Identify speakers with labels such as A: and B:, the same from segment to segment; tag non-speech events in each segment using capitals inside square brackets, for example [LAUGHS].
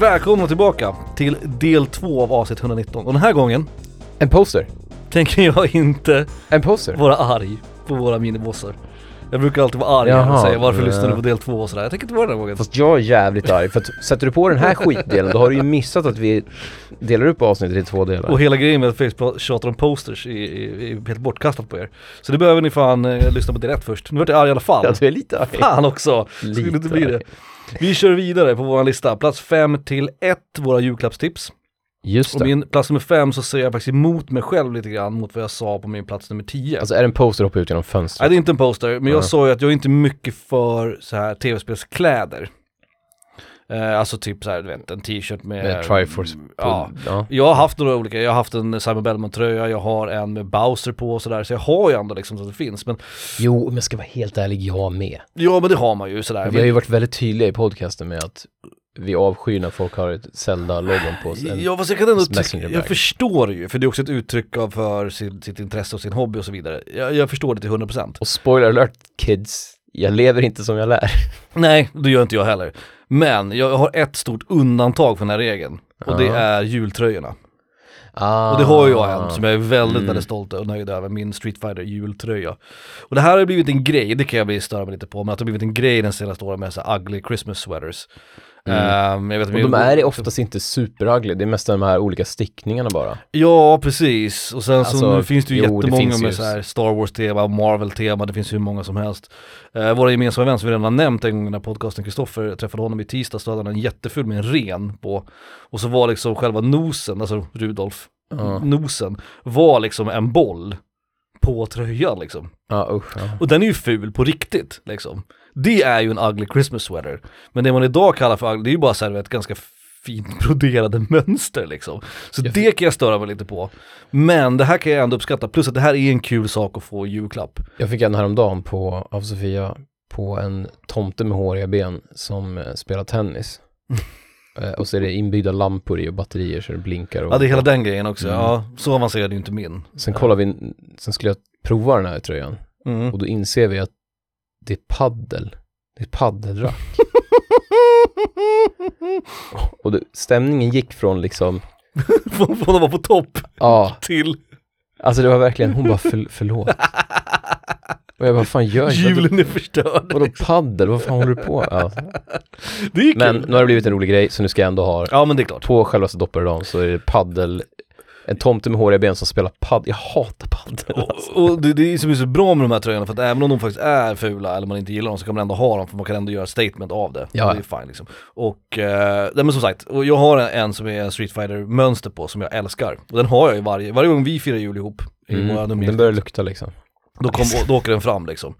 A: Välkomna tillbaka till del 2 av avsnitt 119 och den här gången
B: En poser.
A: tänker jag inte
B: En poser.
A: vara arg på våra minibossar. Jag brukar alltid vara arg här och
B: Jaha,
A: säga varför
B: ja.
A: lyssnar du på del 2 och sådär. Jag tänker inte vara den här gången.
B: Fast jag är jävligt arg för att sätter du på den här skitdelen då har du ju missat att vi delar upp avsnittet i två delar.
A: Och hela grejen med att Facebook tjatar om posters är, är, är helt bortkastat på er. Så det behöver ni fan eh, lyssna på del 1 först. Nu vart jag arg i alla fall.
B: Ja, du är lite arg.
A: Fan också!
B: Lite
A: Skulle inte bli
B: arg.
A: det. Vi kör vidare på vår lista. Plats 5 till 1, våra julklappstips.
B: Just
A: Och
B: det.
A: min plats nummer 5 så säger jag faktiskt emot mig själv lite grann mot vad jag sa på min plats nummer 10.
B: Alltså är det en poster hoppar ut genom
A: Nej
B: fönstret?
A: det är inte en poster, men jag
B: Nej.
A: sa ju att jag är inte mycket för så här tv-spelskläder. Eh, alltså typ så här, du vet, en t-shirt med...
B: Med Triforce. på-
A: Ja.
B: ja.
A: Jag har haft några olika, jag har haft en Simon Bellman-tröja, jag har en med Bowser på och sådär, så jag har ju ändå liksom så att det finns. Men
B: Jo, om jag ska vara helt ärlig, jag med.
A: ja, men det har man ju sådär.
B: Vi har ju varit väldigt tydliga i podcasten med att vi avskyr när folk har ett Zelda-logon på sig. En-
A: Ja fast jag kan ändå
B: smack in
A: tycka,
B: the
A: jag
B: bag.
A: förstår det ju, för det är också ett uttryck av för sin, sitt intresse och sin hobby och så vidare. Jag, jag förstår det till 100%.
B: Och spoiler alert kids, jag lever inte som jag lär.
A: Nej, det gör inte jag heller. Men jag har ett stort undantag från den här regeln. Och det
B: Ja.
A: är jultröjorna.
B: Ah.
A: Och det har ju jag en som jag är väldigt,
B: Mm.
A: väldigt stolt och nöjd över, min Street Fighter jultröja. Och det här har ju blivit en grej, det kan jag bli störa mig lite på, men att det har blivit en grej den senaste åren med så här ugly Christmas sweaters. Ehm, jag vet,
B: Mm. Och de är oftast inte superugly, det är mest de här olika stickningarna bara.
A: Ja, precis. Och sen så
B: Alltså,
A: nu finns det ju
B: jo, det
A: jättemånga
B: finns
A: med
B: ju.
A: så här Star Wars-tema, Marvel-tema, det finns ju hur många som helst. Eh, våra gemensamma vän som vi redan har nämnt en gång när podcasten Kristoffer träffade honom i tisdags, så hade han en jättefull med en ren på. Och så var liksom själva nosen, alltså Rudolf,
B: Ja,
A: nosen, var liksom en boll på tröjan liksom.
B: ja usch. Ja.
A: Och den är ju ful på riktigt liksom. Det är ju en ugly Christmas sweater. Men det man idag kallar för ugly, det är ju bara så här, du vet, ganska fint broderade mönster liksom. Så
B: Jag
A: det kan jag störa mig lite på. Men det här kan jag ändå uppskatta, plus att det här är en kul sak att få i julklapp.
B: Jag fick en häromdagen på, av Sofia på en tomte med håriga ben som eh,
A: [LAUGHS]
B: spelar tennis. Eh, och så är det inbyggda lampor i och batterier så det blinkar. Och,
A: Ja det är hela den grejen också,
B: Mm.
A: ja så avancerad är ju inte min.
B: Sen kollar vi, sen skulle jag prova den här tröjan
A: Mm. [LAUGHS]
B: och då inser vi att det är paddel. Det är
A: [LAUGHS]
B: paddelrack. Och det, stämningen gick från liksom,
A: Från från att vara på topp
B: ja,
A: till
B: alltså det var verkligen, hon bara för, förlåt. Och jag bara, fan gör inte
A: julen är förstörd.
B: Vadå paddel, vad fan håller du på med? ja.
A: Det är kul.
B: Men nu har det blivit en rolig grej så nu ska jag ändå ha
A: Ja men det är klart.
B: på självaste dopparedagen så är det paddel, en tomte med håriga ben som spelar paddel. Jag hatar paddel.
A: Och, och det, det är som är så bra med de här tröjorna för att även om de faktiskt är fula eller man inte gillar dem så kan man ändå ha dem för man kan ändå göra ett statement av det.
B: Ja.
A: Det är fine liksom. Och, eh, nej men som sagt, och jag har en, en som är en Street Fighter mönster på som jag älskar. Och den har jag ju varje, varje gång vi firar jul ihop i våra nummer,
B: Mm. Den börjar lukta liksom.
A: då, kom, då åker den fram liksom.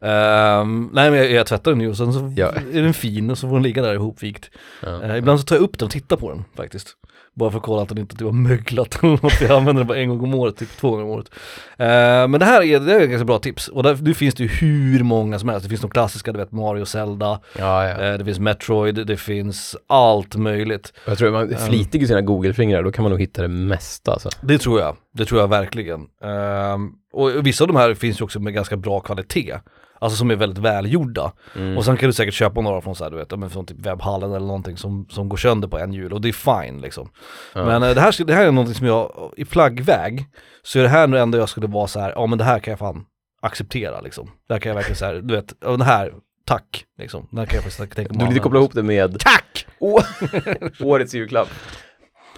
A: Ehm, nej men jag, jag tvättar den ju och sen så
B: Ja.
A: är den fin och så får den ligga där ihopvikt.
B: Ja.
A: Eh, ibland så tar jag upp den och tittar på den faktiskt. Bara för att kolla att den inte typ har möglat eller något. Jag använder den bara en gång om året, typ två gånger om året. Eh, men det här är, det här är ett ganska bra tips. Och där, nu finns det ju hur många som helst. Det finns de klassiska, du vet Mario, Zelda,
B: Ja, ja.
A: eh, det finns Metroid, det finns allt möjligt.
B: Jag tror man är
A: eh,
B: flitig i sina googlefingrar, då kan man nog hitta det mesta alltså.
A: Det tror jag, det tror jag verkligen. Eh, och vissa av de här finns ju också med ganska bra kvalitet. Alltså som är väldigt välgjorda.
B: Mm.
A: Och sen kan du säkert köpa några från så här, du vet, ja, men från typ webbhallen eller någonting som, som går sönder på en jul och det är fine liksom.
B: Ja.
A: Men eh, det här, det här är någonting som jag, i flaggväg, så är det här nu ändå jag skulle vara så här, ja men det här kan jag fan acceptera liksom. Det här kan jag verkligen så här, du vet, ja, det här, tack liksom. Det här kan jag faktiskt tänka
B: Du vill koppla ihop det med
A: Tack!
B: Åh, [LAUGHS] årets julklapp.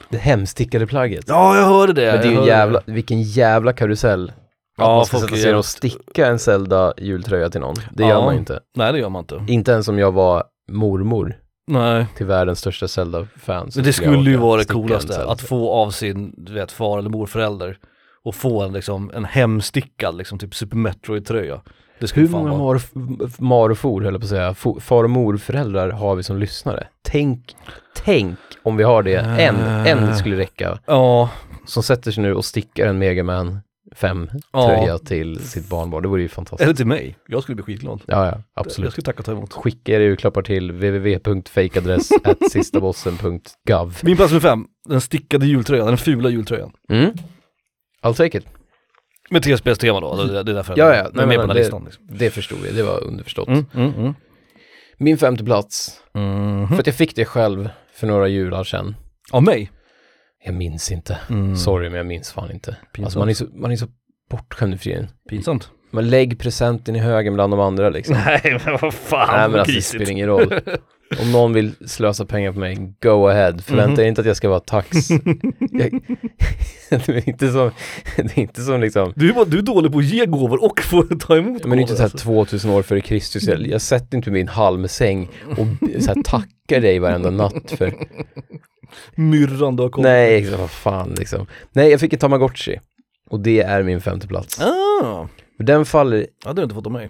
B: Det hemstickade plagget.
A: Ja jag hörde det.
B: Men det
A: jag
B: är ju en
A: hörde
B: jävla, vilken jävla karusell. Att
A: Ja,
B: man ska
A: folk
B: sätta
A: är
B: sig ner
A: jävla-
B: och sticka en Zelda jultröja till någon. Det gör
A: Ja.
B: man ju inte.
A: Nej det gör man inte.
B: Inte ens om jag var mormor
A: Nej.
B: till världens största Zelda-fan. så
A: Men det
B: jag
A: skulle ju
B: åka
A: vara det
B: sticka en
A: coolaste,
B: Zelda.
A: att få av sin, du vet, far eller morförälder och få en liksom, en hemstickad liksom typ Super Metroid-tröja. Det skulle
B: Hur
A: fan
B: många
A: vara-
B: mar, f- mar och for, höll jag på att säga, fo- far och morföräldrar har vi som lyssnare? Tänk, tänk om vi har det, en,
A: Eh.
B: en skulle räcka,
A: Ja,
B: som sätter sig nu och stickar en Mega Man 5-tröja
A: ja.
B: till sitt barnbarn. Det vore ju fantastiskt.
A: Eller till mig. Jag skulle bli skitglad.
B: Ja, ja,
A: Jag
B: absolut.
A: skulle tacka och ta emot.
B: Skicka era julklappar till www.fakeadress.sistabossen.gov.
A: Min plats nummer fem, den stickade jultröjan, den fula jultröjan.
B: Mm. I'll take it.
A: Med TSBs tema då, alltså, det det är därför
B: Ja, ja.
A: den är
B: Nej,
A: med
B: men
A: på den här
B: det-
A: listan. Liksom.
B: Det förstod vi, det var underförstått.
A: Mm, mm, mm.
B: Min femte plats,
A: Mhm.
B: för att jag fick det själv för några jular sedan.
A: Av mig?
B: Jag minns inte.
A: Mm.
B: Sorry, men jag minns fan inte.
A: Pinsamt.
B: Alltså man är så, man är så bortskämd nu för tiden.
A: Pinsamt.
B: Men lägg presenten i högen bland de andra liksom.
A: [LAUGHS] Nej men vad fan,
B: Nej men
A: vad
B: alltså det spelar ingen roll.
A: [LAUGHS]
B: Om någon vill slösa pengar på mig, go ahead.
A: Mm.
B: Förvänta er inte att jag ska
A: [LAUGHS]
B: vara tax. jag, det är inte som, det är inte som liksom,
A: Du, är bara- du är dålig på att ge gåvor och få ta emot
B: men det är inte
A: gåvor,
B: så här
A: alltså.
B: 2000 år före Kristus. Jag, jag sätter inte mig i en halmsäng och b- så här tackar dig varenda natt för,
A: Myrran du har kommit
B: nej liksom, vad fan liksom. Nej, jag fick en Tamagotchi. Och det är min femte plats.
A: Ah,
B: För Den faller,
A: det hade du inte fått av mig.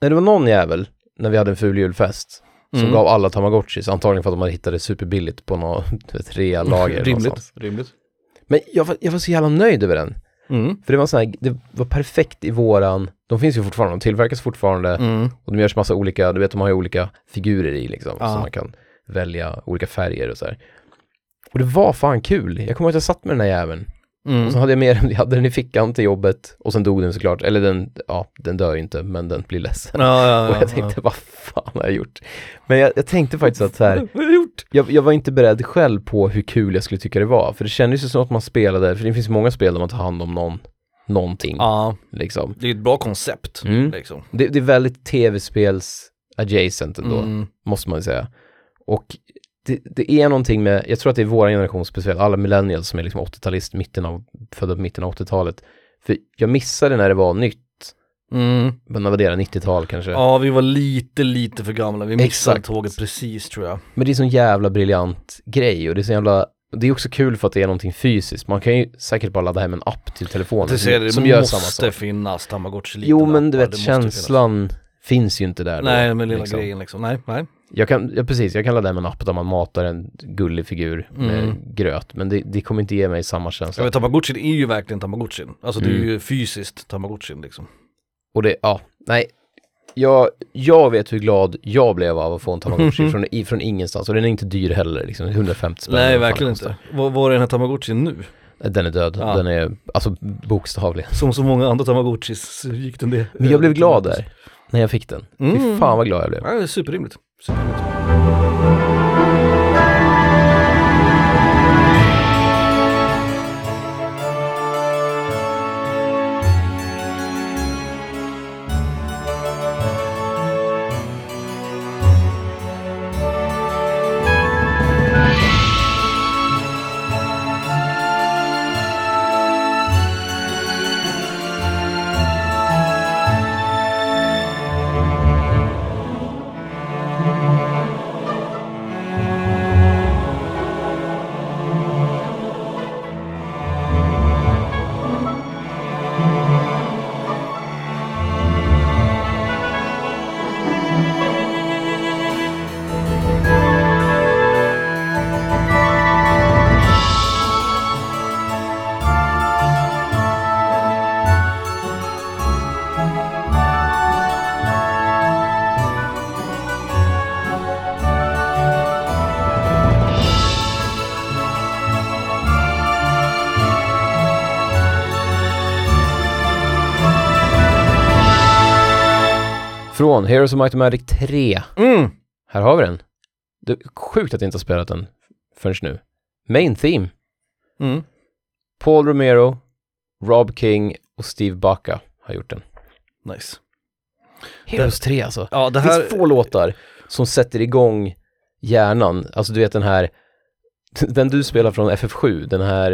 B: när det var någon jävel, när vi hade en ful julfest, som
A: Mm.
B: gav alla Tamagotchis, antagligen för att de hade hittat det superbilligt på något [LAUGHS] du vet, realager. någonstans.
A: Mm, [LAUGHS] Rimligt. Rimligt.
B: Men jag var, jag var så jävla nöjd över den.
A: Mm.
B: För det var, sån här, det var perfekt i våran, de finns ju fortfarande, de tillverkas fortfarande
A: Mm.
B: och de görs massa olika, du vet de har ju olika figurer i liksom,
A: Ja.
B: så man kan välja olika färger och så här. Och det var fan kul, jag kommer ihåg att jag satt med den här jäveln
A: Mm.
B: och så hade jag med den, jag hade den i fickan till jobbet och sen dog den såklart, eller den, ja den dör ju inte men den blir ledsen.
A: Ja, ja,
B: [LAUGHS] Och
A: ja,
B: jag tänkte, vad fan har jag gjort? Men jag, jag tänkte faktiskt att så här,
A: [LAUGHS] Vad har du gjort?
B: jag, jag var inte beredd själv på hur kul jag skulle tycka det var, för det kändes ju som att man spelade, för det finns många spel där man tar hand om någon, någonting
A: Ja,
B: liksom.
A: det är ett bra koncept.
B: Mm.
A: Liksom.
B: Det, det är väldigt tv-spels adjacent ändå,
A: Mm.
B: måste man ju säga. Och det, det är någonting med, jag tror att det är vår generation speciellt, alla millennials som är liksom 80-talist, mitten av, födda på mitten av 80-talet. För jag missade när det var nytt,
A: Mm.
B: men när var det, 90-tal kanske?
A: Ja, vi var lite, lite för gamla. Vi missade
B: typ. Exakt.
A: tåget precis tror jag.
B: Men det är sån jävla briljant grej och det är så jävla det är också kul för att det är någonting fysiskt. Man kan ju säkert bara ladda hem en app till telefonen
A: Det, ser,
B: som,
A: det
B: som gör
A: måste
B: samma sak.
A: finnas tamagotchi
B: Jo men du
A: appar,
B: vet
A: det måste ju
B: känslan finns ju inte där
A: finnas. Nej,
B: då.
A: men lilla
B: liksom.
A: grejen liksom. Nej, nej.
B: Jag kan, ja, precis, jag kan ladda hem en app där man matar en gullig figur med
A: Mm. gröt,
B: gröt. Men det, kommer inte ge mig samma känsla.
A: Jag vet, tamagotchin är ju verkligen tamagotchin. Alltså det är
B: Mm.
A: ju fysiskt tamagotchin liksom.
B: Och det, ja, nej. Jag, jag vet hur glad jag blev av att få
A: [LAUGHS]
B: en Tamagotchi från, i- från ingenstans. Och den är inte dyr heller, liksom 150 spänn.
A: nej,
B: Vad fan
A: verkligen
B: det kostar.
A: inte. Vad var är den här tamagotchin nu?
B: Den är död.
A: Ja.
B: Den är, alltså bokstavligen.
A: Som så många andra tamagotchis så gick den det.
B: Men jag blev
A: eh,
B: glad
A: till mötes.
B: där, när jag fick den. Fy
A: Mm.
B: fan vad glad jag blev.
A: Ja, det är superrimligt. superrimligt.
B: Från Heroes of Might and Magic 3.
A: Mm.
B: Här har vi den. Det är sjukt att jag inte har spelat den förrän nu. Main Theme.
A: Mm.
B: Paul Romero, Rob King och Steve Baca har gjort den.
A: Nice.
B: Heroes 3 alltså.
A: Ja, det
B: Det
A: här...
B: finns få låtar som sätter igång hjärnan. Alltså du vet den här, den du spelar från FF7, den här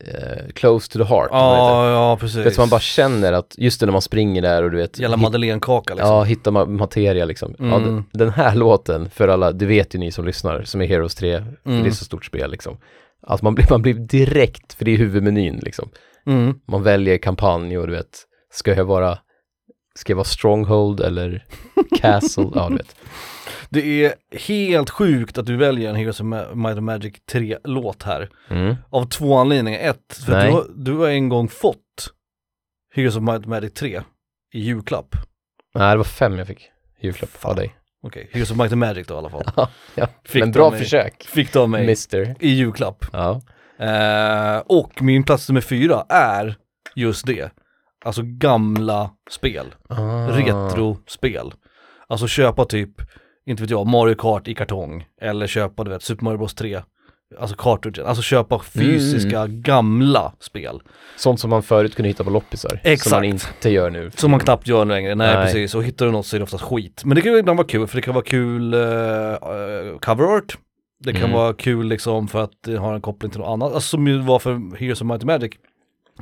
B: eh, Close to the Heart. vad heter
A: Ja, ja
B: det?
A: precis.
B: Vet du, man bara känner att, just det när man springer där och du vet,
A: Jävla
B: hit-
A: madeleinekaka liksom.
B: Ja, hitta ma- materia liksom. Ja,
A: Mm.
B: d- den här låten, för alla, det vet ju ni som lyssnar, som är Heroes 3, för
A: Mm.
B: det är så stort spel liksom. Att man blir, [LAUGHS] man blir direkt, för det är huvudmenyn liksom.
A: Mm.
B: Man väljer kampanj och du vet, ska jag vara, ska jag vara
A: [LAUGHS]
B: Stronghold eller Castle? ja, du vet.
A: Det är helt sjukt att du väljer en Heroes of Ma- Might and Magic 3-låt här.
B: Mm.
A: Av två anledningar. Ett, för att
B: Nej.
A: du, har- du har en gång fått Heroes of Might and Magic 3 i julklapp.
B: Nej, det var fem jag fick i julklapp av dig.
A: Okej, Heroes of Might and Magic då i alla fall.
B: [LAUGHS] Ja.
A: Fick
B: Men
A: du
B: bra
A: av mig.
B: försök,
A: Fick du av mig
B: mister.
A: i julklapp.
B: Ja.
A: Eh, och min plats nummer fyra är just det. Alltså gamla spel.
B: Ah.
A: retrospel. Alltså köpa typ inte vet jag, Mario Kart i kartong. Eller köpa, du vet, Super Mario Bros 3. Alltså cartridgen, alltså köpa fysiska gamla spel.
B: Sånt som man förut kunde hitta på loppisar. Som
A: Exakt.
B: man inte gör nu.
A: Som man knappt gör längre, nej,
B: Nej.
A: precis. Och hittar du något så är det oftast skit. Men det kan ju ibland vara kul, för det kan vara kul eh, eh, cover art. Det kan
B: Mm.
A: vara kul liksom för att det har en koppling till något annat. Alltså som ju var för Heroes of Might and Magic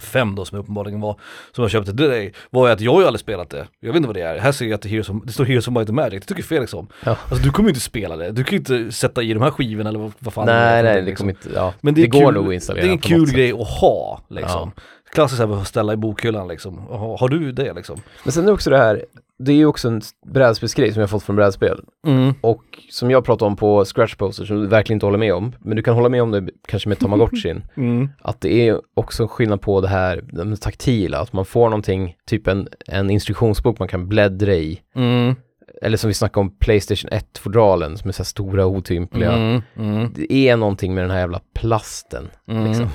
A: 5 då som jag uppenbarligen var, som jag köpte till dig, var ju att jag har ju aldrig spelat det. Jag vet inte vad det är. Här ser jag att det, är Heroes of, det står Heroes of Might and Magic, det tycker Felix om.
B: Ja.
A: Alltså du kommer ju inte spela det, du kan ju inte sätta i de här skivorna eller vad, vad fan det är
B: nej,
A: för
B: nej,
A: någonting,
B: det
A: liksom.
B: kommer inte, ja.
A: Men det, är
B: går
A: kul,
B: nog att installera
A: Det är en
B: på något
A: kul
B: sätt.
A: grej att ha liksom. Klassiskt så här att ställa i bokhyllan liksom. Har, har du det liksom?
B: Men sen är det också det här, det är ju också en brädspelsgrej som jag har fått från brädspel.
A: Mm.
B: Och som jag pratade om på Scratch Poster, som du verkligen inte håller med om, men du kan hålla med om det kanske
A: [LAUGHS]
B: med Tamagotchin,
A: Mm.
B: att det är också en skillnad på det här det taktila, att man får någonting, typ en, en instruktionsbok man kan bläddra i.
A: Mm.
B: Eller som vi snackade om, Playstation 1-fodralen som är så här stora otympliga.
A: Mm. Mm.
B: Det är någonting med den här jävla plasten.
A: Mm.
B: Liksom.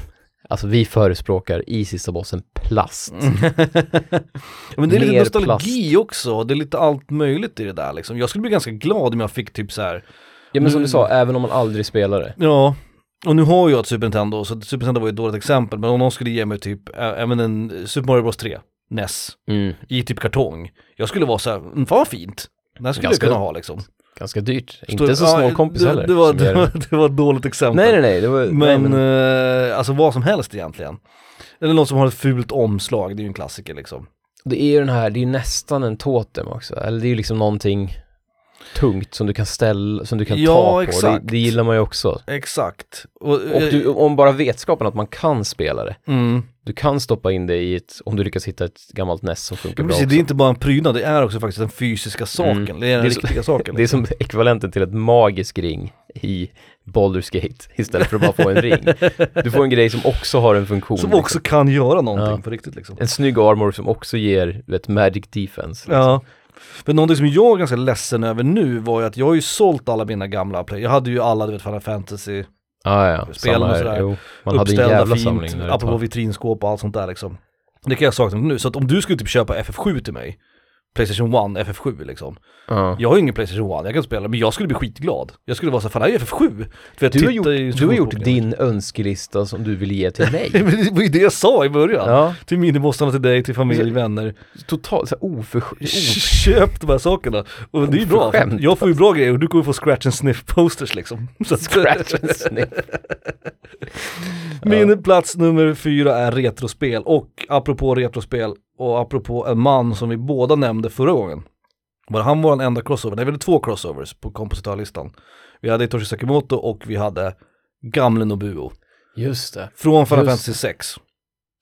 B: Alltså vi förespråkar i sista bossen plast.
A: Mm. Ja, Men det är lite
B: Mer
A: nostalgi också, det är lite allt möjligt i det där liksom. Jag skulle bli ganska glad om jag fick typ så här,
B: Ja men som du
A: Mm.
B: sa, även om man aldrig spelar det.
A: ja, och nu har jag ett Super Nintendo, så Super Nintendo var ju ett dåligt exempel, men om någon skulle ge mig typ, ä- även en Super Mario Bros 3, NES, i typ kartong, jag skulle vara så här, "Mm, fan vad fint, den här skulle
B: Ganska-
A: jag kunna ha liksom.
B: Ganska dyrt.
A: Står-
B: Inte så
A: ja,
B: snål kompis
A: det,
B: heller.
A: Det var,
B: som
A: det,
B: gör
A: var, [LAUGHS] det var ett dåligt exempel.
B: Nej nej nej, det var... nej,
A: Men, eh, alltså vad som helst egentligen. Eller någon som har ett fult omslag, det är ju en klassiker liksom.
B: Det är ju den här, det är ju nästan en totem också. Eller det är ju liksom någonting tungt som du kan ställa, som du kan
A: Ja,
B: ta på.
A: exakt. Eh,
B: Det, det gillar man ju också.
A: Exakt. Och,
B: Och du, om bara vetskapen att man kan spela det.
A: mm.
B: Du kan stoppa in det i ett, om du lyckas hitta ett gammalt NES som funkar
A: Ja,
B: bra
A: precis,
B: också.
A: det är inte bara en prydnad, det är också faktiskt den fysiska saken.
B: Mm.
A: Det är den
B: Det är så- [LAUGHS]
A: riktiga saken. liksom.
B: Det är som ekvivalenten till ett magisk ring i Baldur's Gate istället för att bara få en
A: [LAUGHS]
B: ring. Du får en grej som också har en funktion.
A: som
B: liksom.
A: också kan göra någonting
B: Ja.
A: på riktigt liksom.
B: En snygg armor som också ger du vet, magic defense.
A: Ja. Men någonting som jag är ganska ledsen över nu var ju att jag har ju sålt alla mina gamla play. Jag hade ju alla, du vet, Final Fantasy,
B: ah, ja.
A: Spel
B: samma
A: och
B: här.
A: sådär.
B: Jo, man hade en
A: uppställda
B: jävla
A: fint,
B: samling. där ett
A: apropå
B: tag.
A: vitrinskåp och allt sånt där liksom. Det kan jag sakna nu, så att om du skulle typ köpa FF7 till mig, Playstation 1 FF7 liksom.
B: Ja.
A: Jag har ju ingen Playstation 1, jag kan spela, men jag skulle bli skitglad. Jag skulle vara så här, fan det här är FF7. För jag
B: Du har
A: tittar
B: gjort,
A: i
B: du har gjort
A: instruktionsboken. [LAUGHS]
B: din önskelista som du vill ge till mig.
A: Men det var ju det jag sa i början.
B: ja.
A: Till minibossarna, till dig, till familj, vänner.
B: Totalt så här oförskämt.
A: [LAUGHS] Köp de här sakerna. Och det är ju bra, för
B: Oförskämt.
A: jag får ju bra grejer och du kommer få scratch and sniff posters liksom. [LAUGHS] Så att, Min plats nummer fyra är retrospel och apropå retrospel och apropå en man som vi båda nämnde förra gången. Var han vår enda crossover? Nej, vi hade två crossovers på kompositörlistan. Vi hade Hitoshi Sakimoto och vi hade gamle Nobuo.
B: Just det.
A: Från Final
B: Just
A: Fantasy 6.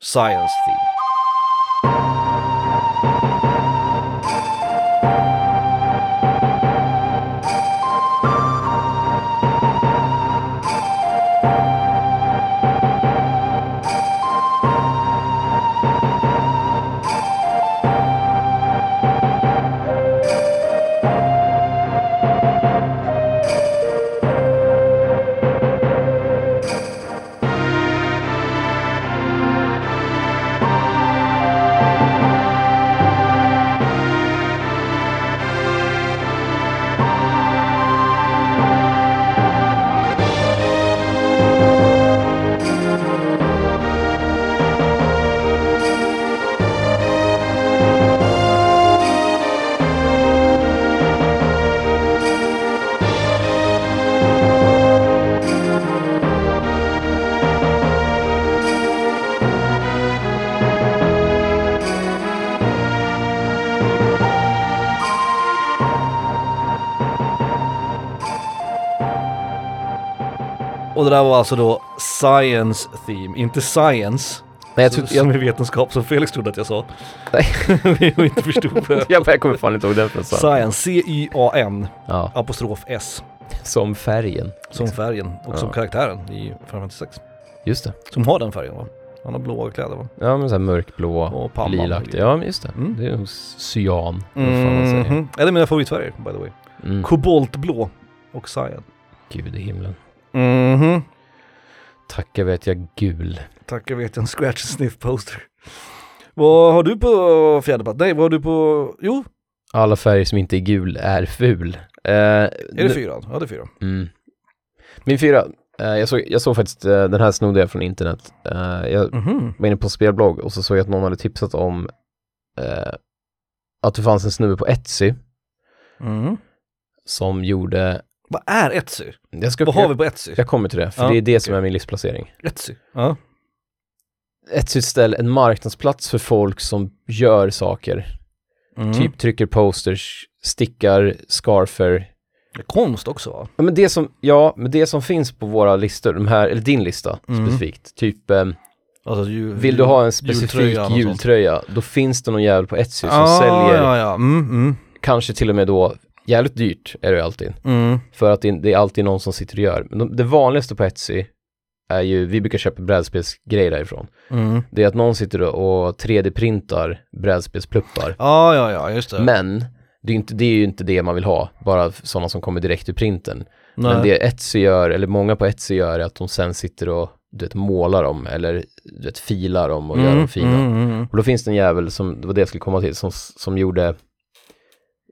A: Science Theme. Och det där var alltså då Science Theme, inte Science.
B: Nej, jag,
A: så- [LAUGHS]
B: tror,
A: Som
B: jag,
A: är vetenskap, som Felix trodde att jag sa.
B: Nej.
A: [LAUGHS] jag inte förstod. vad [LAUGHS] jag-
B: jag, jag kommer fan inte ihåg den från
A: Science, C-Y-A-N,
B: Ja,
A: apostrof S.
B: som färgen.
A: Som färgen och som
B: Liksom. Ja.
A: karaktären i Final Fantasy 6.
B: Just det.
A: Som har den färgen va? Han har blåa kläder va?
B: Ja, men så här mörkblå,
A: Och pannan.
B: lilaktig. Ja, men just det.
A: Mm.
B: Det är nog cyan. vad fan man säger.
A: Mhm. Eller mina favoritfärger by the way.
B: Mm.
A: Koboltblå och cyan.
B: Gud i himlen.
A: Mhm.
B: Tacka vet jag gul.
A: Tackar vet jag en scratch and sniff poster. Vad har du på fjärde plats? Nej, vad har du på... Jo,
B: Alla färger som inte är gul är ful. Eh,
A: Är det fyran? Ja det är fyran.
B: Mm. Min fyra, eh, jag, såg, jag såg faktiskt, eh, den här snodde jag från internet. Eh, jag
A: Mhm.
B: var inne på en spelblogg och så såg jag att någon hade tipsat om eh, att det fanns en snubbe på Etsy
A: Mm.
B: som gjorde...
A: Vad är Etsy?
B: Jag, ska,
A: Vad har vi på Etsy?
B: jag, jag kommer till det, för
A: Ja,
B: det är det som
A: okej.
B: är min livsplacering.
A: Etsy? Ja.
B: Etsy är ett ställe, en marknadsplats för folk som gör saker.
A: Mm.
B: Typ trycker posters, stickar, scarfer.
A: Det är Konst också va?
B: Ja men, det som, ja, men det som finns på våra listor, de här, eller din lista
A: Mm.
B: specifikt, typ ehm,
A: Alltså, ju,
B: Vill du ha en specifik
A: jultröja och sånt.
B: jultröja, då finns det någon jävel på Etsy som
A: ah,
B: säljer,
A: Ja, ja. Mm, mm,
B: kanske till och med då, jävligt dyrt är det ju alltid.
A: mm.
B: För att det, det är alltid någon som sitter och gör. Men de, det vanligaste på Etsy är ju, vi brukar köpa brädspelsgrejer därifrån.
A: Mm.
B: Det är att någon sitter och 3D-printar brädspelspluppar.
A: Ah, ja, ja, just det.
B: Men det är, inte, det är ju inte det man vill ha, bara sådana som kommer direkt ur printen.
A: Nej.
B: Men det Etsy gör, eller många på Etsy gör, är att de sen sitter och du vet, målar dem eller du vet, filar dem och gör dem fina.
A: Mm, mm, mm.
B: Och då finns det en jävel, som, det var det jag skulle komma till, som, som gjorde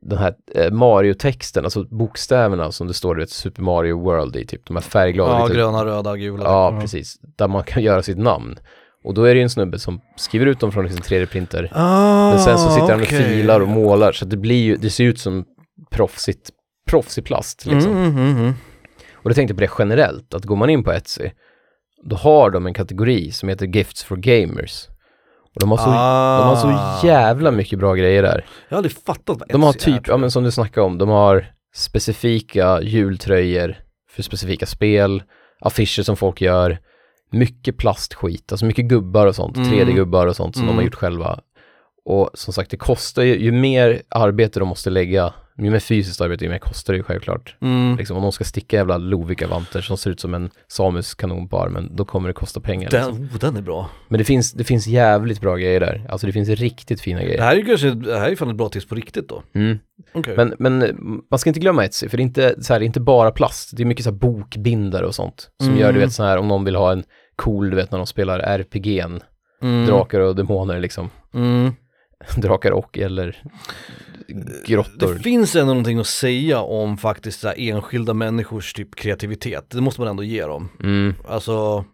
B: den här eh, Mario-texten, alltså bokstäverna som det står, du vet, Super Mario World i, typ de här färgglada.
A: Ja,
B: lite-
A: gröna, röda, gula.
B: ja
A: Mm.
B: precis. Där man kan [LAUGHS] göra sitt namn. Och då är det ju en snubbe som skriver ut dem från liksom sin 3D-printer.
A: Ah,
B: men sen så sitter han och
A: okej.
B: filar och målar, så att det blir ju, det ser ut som proffsigt, proffsig plast liksom.
A: Mm, mm, mm.
B: Och då tänkte jag på det generellt, att går man in på Etsy, då har de en kategori som heter Gifts for Gamers. Och de har så
A: ah.
B: de har så jävla mycket bra grejer där.
A: Jag har aldrig fattat vad
B: De har
A: Etsy är,
B: typ,
A: tror
B: ja
A: jag.
B: men som du snackade om, de har specifika jultröjor för specifika spel, affischer som folk gör, mycket plastskit, alltså mycket gubbar och sånt,
A: Mm.
B: 3D-gubbar och sånt som de
A: Mm.
B: har gjort själva. Och som sagt, det kostar ju, ju mer arbete de måste lägga, ju mer fysiskt arbete, ju mer kostar det ju självklart.
A: Mm.
B: Liksom, om de ska sticka jävla Lovikka-vantar som ser ut som en samisk kanon på armen, då kommer det kosta pengar.
A: Den,
B: Liksom.
A: oh, den är bra.
B: Men det finns, det finns jävligt bra grejer där. Alltså det finns riktigt fina
A: Det
B: grejer.
A: här är ju kanske, det här är fan ett bra tips på riktigt då.
B: Mm.
A: Okej.
B: Men, men eh, man ska inte glömma Etsy, för det är inte, så här, det är inte bara plast. Det är mycket så här bokbindare och sånt. Som
A: Mm.
B: gör, du vet, så här om någon vill ha en cool, du vet, när de spelar RPG'n.
A: mm.
B: Drakar och demoner liksom. [LAUGHS]
A: Mm.
B: Drakar och eller grottor.
A: Det finns ändå någonting att säga om faktiskt så här enskilda människors typ kreativitet. Det måste man ändå ge dem.
B: Mm.
A: Alltså,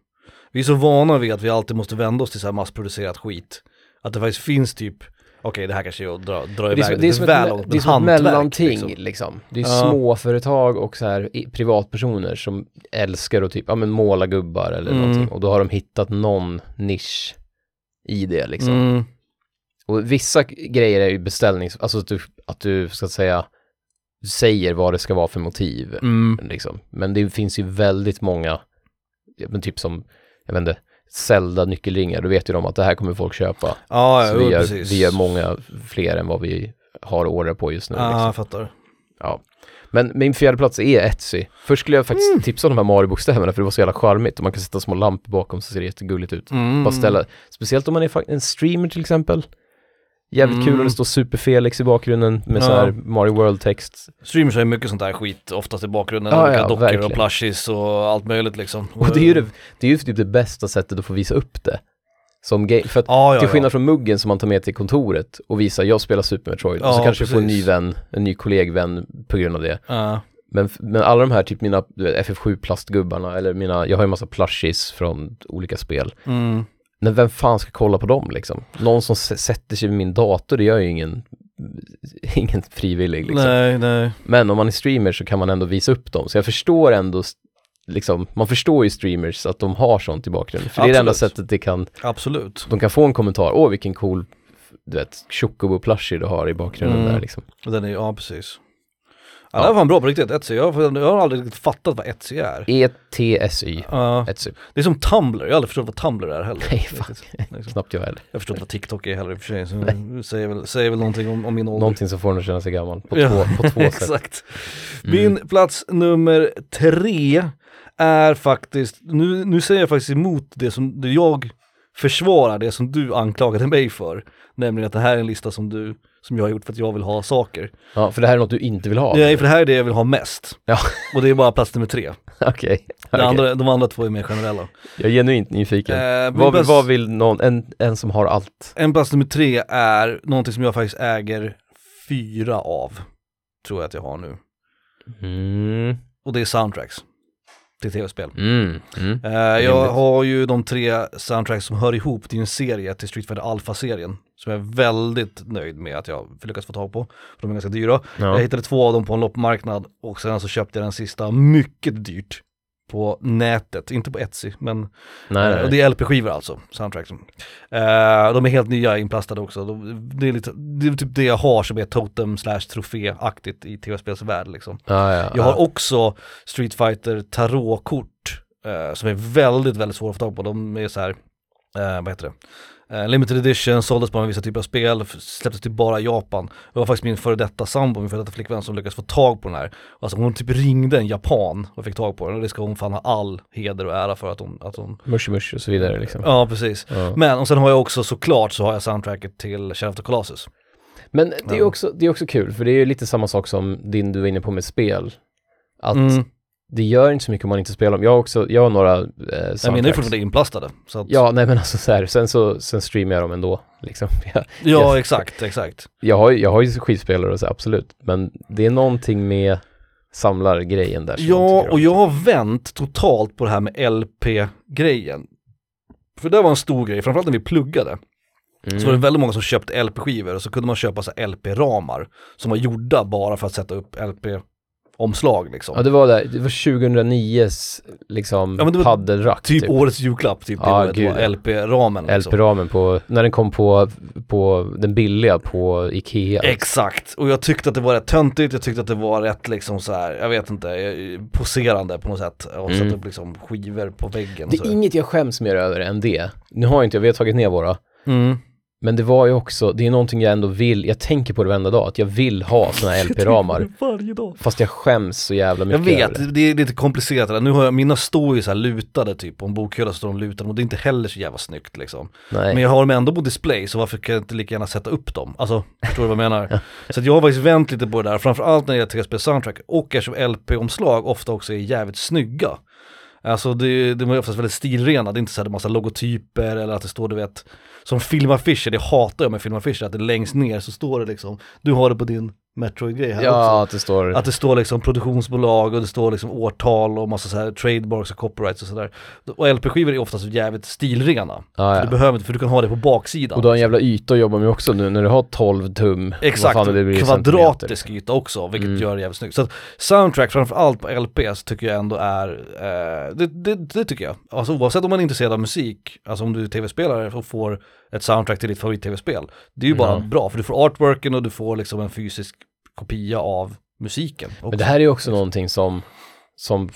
A: vi är så vana vid att vi alltid måste vända oss till så här massproducerat skit. Att det faktiskt finns typ, okej det här kanske är att dra, dra
B: Det är,
A: iväg
B: som, det är som
A: väl
B: ett,
A: långt,
B: det är
A: men
B: som ett
A: hantverk,
B: mellanting liksom.
A: liksom.
B: Det är
A: Ja.
B: småföretag och så här i- privatpersoner som älskar att typ, ja men måla gubbar eller
A: Mm.
B: någonting. Och då har de hittat någon nisch i det liksom.
A: Mm.
B: Och vissa k- grejer är ju beställnings, alltså att du, att du ska säga, säger vad det ska vara för motiv.
A: Mm.
B: Liksom. Men det finns ju väldigt många, ja, men typ som, jag vet inte, sällda nyckelringar, då vet ju de att det här kommer folk köpa.
A: Ja, ja,
B: så vi
A: jo,
B: gör,
A: precis.
B: vi gör många fler än vad vi har order på just nu.
A: Ja,
B: Liksom.
A: jag fattar.
B: Ja. Men min fjärde plats är Etsy. Först skulle jag faktiskt
A: Mm.
B: tipsa om de här Mario-bokstäverna för det var så jävla charmigt och man kan sätta små lampor bakom så ser det jättegulligt ut.
A: Mm.
B: Bara ställa, speciellt om man är fa- en streamer till exempel. Jävligt kul
A: Mm.
B: om det står Super-Felix i bakgrunden med så
A: Ja.
B: här Mario World-text.
A: Streamers har ju mycket sånt där skit oftast i bakgrunden,
B: Ja,
A: olika
B: ja,
A: dockor
B: verkligen.
A: och plushies och allt möjligt liksom.
B: [LAUGHS] Och det är ju, det, det är ju typ det bästa sättet att få visa upp det. Som game, för att
A: Ja, ja,
B: till
A: ja.
B: skillnad från muggen som man tar med till kontoret och visar jag spelar Super Metroid och så
A: Ja,
B: kanske du får en ny
A: precis.
B: vän, en ny kollegvän på grund av det.
A: Ja.
B: Men, f- men alla de här, typ mina du vet, FF7-plastgubbarna, eller mina, jag har ju en massa plushies från olika spel.
A: Mm.
B: Men vem fan ska kolla på dem liksom? Någon som s- sätter sig vid min dator, det gör ju ingen, [LAUGHS] ingen frivillig liksom.
A: Nej, nej.
B: Men om man är streamer så kan man ändå visa upp dem. Så jag förstår ändå, s- liksom, man förstår ju streamers att de har sånt i bakgrunden. För det är det enda
A: Absolut.
B: sättet det kan,
A: Absolut.
B: de kan få en kommentar, åh vilken cool, du vet, chocobo plushie du har i bakgrunden
A: Mm.
B: där liksom.
A: Den är, ja precis. Ja,
B: Ja.
A: Det här var fan bra på riktigt, Etsy. Jag, har- jag har aldrig riktigt fattat vad Etsy är.
B: E ETSY,
A: Ja.
B: Etsy,
A: det är som Tumblr, jag har aldrig förstått vad Tumblr är heller.
B: Nej, fan.
A: Riktigt. Liksom.
B: knappt jag heller.
A: Jag förstår inte vad TikTok är heller i och för sig, så det säger väl, säger väl någonting om, om min ålder.
B: Någonting som får en att känna sig gammal, på,
A: Ja, [LAUGHS]
B: två, på två sätt. Mm.
A: Exakt. Min plats nummer tre är faktiskt, nu, nu säger jag faktiskt emot det som det jag försvarar, det som du anklagade mig för. Nämligen att det här är en lista som du, som jag har gjort för att jag vill ha saker.
B: Ja, för det här är något du inte vill ha?
A: Nej, för det här är det jag vill ha mest.
B: Ja.
A: Och det är bara plats nummer tre.
B: [LAUGHS] Okej.
A: Det
B: Okej.
A: andra, de andra två är mer generella.
B: Jag är genuint nyfiken.
A: Eh, min
B: vad, vill-
A: plats-
B: vad vill någon, en, en som har allt?
A: En plats nummer tre är någonting som jag faktiskt äger fyra av, tror jag att jag har nu.
B: Mm.
A: Och det är soundtracks till tv-spel.
B: Mm. Mm.
A: Eh, jag har ju de tre soundtracks som hör ihop till en serie, till Street Fighter Alpha-serien. Som jag är väldigt nöjd med att jag lyckats få tag på, för de är ganska dyra. Jag
B: Ja.
A: hittade två av dem på en loppmarknad och sen så köpte jag den sista mycket dyrt på nätet, inte på Etsy, men
B: Nej,
A: eh,
B: nej.
A: och det är LP-skivor alltså, soundtracksen. Eh, de är helt nya inplastade också, de, det, är lite, det är typ det jag har som är totem slash trofé-aktigt i tv-spelsvärld liksom.
B: Ja, ja,
A: Jag
B: ja.
A: har också Street Fighter tarotkort eh, som är väldigt, väldigt svåra att få tag på. De är så här, eh, vad heter det? Eh, limited edition, såldes bara med vissa typer av spel, f- släpptes till bara i Japan. Det var faktiskt min före detta sambo, min före detta flickvän som lyckades få tag på den här. Alltså hon typ ringde en japan och fick tag på den och det ska hon fan ha all heder och ära för att hon, att hon
B: Mush mush och så vidare liksom.
A: Ja, precis.
B: Ja.
A: Men, och sen har jag också såklart så har jag soundtracket till Shadow of the Colossus.
B: Men det är,
A: Ja.
B: också, det är också kul, för det är ju lite samma sak som din du var inne på med spel. Att
A: Mm.
B: det gör inte så mycket om man inte spelar dem. Jag har också, jag har några eh,
A: Jag menar ju
B: soundtracks.
A: fortfarande inplastade. Så att,
B: Ja, nej men alltså så här, sen så sen streamar jag dem ändå. Liksom. [LAUGHS] Jag,
A: ja, exakt, exakt.
B: jag, har, ju- jag har ju skivspelare och så, absolut. Men det är någonting med samlargrejen där. som
A: Ja,
B: tycker om.
A: och jag har vänt totalt på det här med LP-grejen. För det var en stor grej, framförallt när vi pluggade.
B: Mm.
A: Så var det väldigt många som köpte LP-skivor och så kunde man köpa så här LP-ramar som var gjorda bara för att sätta upp LP-omslag liksom.
B: Ja, det var där, det var 2009s liksom
A: Ja, men det var
B: paddelrack.
A: typ, årets julklapp, typ det
B: Ja,
A: var, det var
B: gud.
A: LP-ramen. Liksom.
B: LP-ramen på, när den kom på, på den billiga på Ikea.
A: Exakt, och jag tyckte att det var rätt töntigt, jag tyckte att det var rätt liksom så här, jag vet inte, eh, poserande på något sätt. Och
B: Mm.
A: sätta upp liksom skivor på väggen. och
B: det
A: så.
B: är inget jag skäms mer över än det. Nu har jag inte jag, vi har tagit ner våra.
A: Mm.
B: Men det var ju också, det är någonting jag ändå vill, jag tänker på det varenda dag, att jag vill ha
A: [LAUGHS]
B: såna här [LAUGHS] LP-ramar.
A: Varje dag.
B: Fast jag skäms så jävla
A: Jag
B: mycket över det.
A: vet, det är lite komplicerat det där. Nu har jag, mina står ju så här lutade typ, på en bokhylla så står de lutade och det är inte heller så jävla snyggt liksom.
B: Nej.
A: Men jag har dem ändå på display så varför kan jag inte lika gärna sätta upp dem? Alltså, förstår du vad
B: [LAUGHS]
A: jag menar? Så att jag har faktiskt vänt lite på det där, framförallt när det gäller tv soundtrack och eftersom LP-omslag ofta också är jävligt snygga. Alltså det, de är oftast väldigt stilrena, det är inte så här en massa logotyper eller att det står du vet, som filmaffischer, det hatar jag med filmaffischer, att det längst ner så står det liksom, du har det på din Metroid-grej här också.
B: ja, att det står...
A: Att det står liksom produktionsbolag och det står liksom årtal och massa så här trademarks och copyrights och sådär. Och LP-skivor är oftast jävligt stilrena.
B: Ja,
A: För
B: ja.
A: Du behöver inte, för du kan ha det på baksidan.
B: Och du har en jävla yta att jobba med också nu när du har 12 tum.
A: Exakt,
B: Vad fan det blir i centimeter.
A: kvadratisk yta också, vilket
B: Mm.
A: gör det jävligt snyggt. Så att soundtrack framförallt på LP så tycker jag ändå är, eh, det, det, det tycker jag. Alltså oavsett om man är intresserad av musik, alltså om du är tv-spelare och får ett soundtrack till ditt favorit-tv-spel, det är ju bara
B: Ja.
A: bra för du får artworken och du får liksom en fysisk kopia av musiken.
B: Men det här är ju också någonting som, som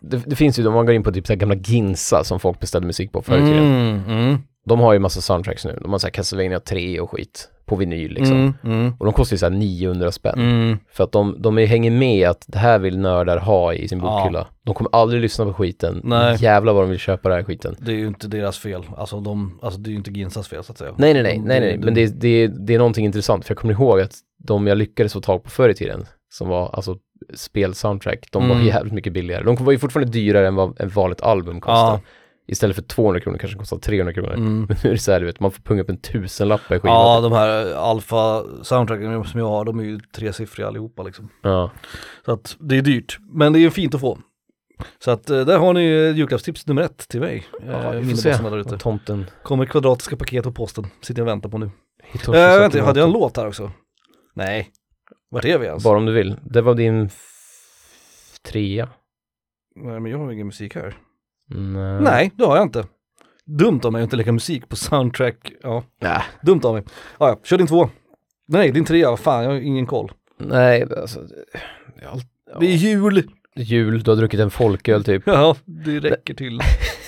B: det, det finns ju, om man går in på typ så här gamla Ginsa som folk beställde musik på förr i
A: också.
B: tiden.
A: mm, mm,
B: De har ju massa soundtracks nu. De har så här Castlevania 3 och skit på vinyl liksom.
A: mm, mm.
B: Och de kostar ju så här 900 spänn.
A: Mm.
B: För att de, de är- hänger med att det här vill nördar ha i sin bokhylla. De kommer aldrig lyssna på skiten.
A: Nej.
B: Jävlar vad de vill köpa den här skiten.
A: Det är ju inte deras fel, alltså, de, alltså det är ju inte Ginsas fel så att säga.
B: Nej, nej, nej,
A: De-
B: nej, nej. men det, det, det är någonting intressant. För jag kommer ihåg att de jag lyckades få tag på förr i tiden, som var alltså spelsoundtrack, de var
A: Mm.
B: jävligt mycket billigare. De var ju fortfarande dyrare än vad ett vanligt album kostar.
A: Ja.
B: Istället för 200 kronor kanske det kostar 300 kronor.
A: Mm.
B: [LAUGHS] Men nu är det så här, du vet, man får punga upp en tusenlapp per skiva.
A: Ja, de här eh, alfa soundtracken som jag har, de är ju tresiffriga allihopa liksom.
B: ja.
A: Så att det är dyrt, men det är ju fint att få. Så att eh, där har ni eh, julklappstips nummer ett till mig.
B: Ja,
A: Ja,
B: Eh, vi får
A: Mina
B: se.
A: bästa där ute.
B: Och Tomten.
A: Kommer kvadratiska paket på posten, sitter jag och väntar på nu.
B: Hitoshi
A: Äh, vänta,
B: Sakamoto.
A: hade jag en låt här också? Nej. Vart är vi ens?
B: Bara om du vill. Det var din f- trea.
A: Nej, men jag har ingen musik här.
B: Mm. Nej.
A: Nej, det har jag inte. Dumt av mig att inte lägga musik på soundtrack, ja.
B: Nej.
A: Dumt av mig. Ah, Ja, ja, kör din två. Nej, din trea, vad fan, jag har ingen koll.
B: Nej, alltså. jag har allt- Ja.
A: Det är jul!
B: Jul, du har druckit en folköl typ.
A: [LAUGHS] Ja, det räcker till.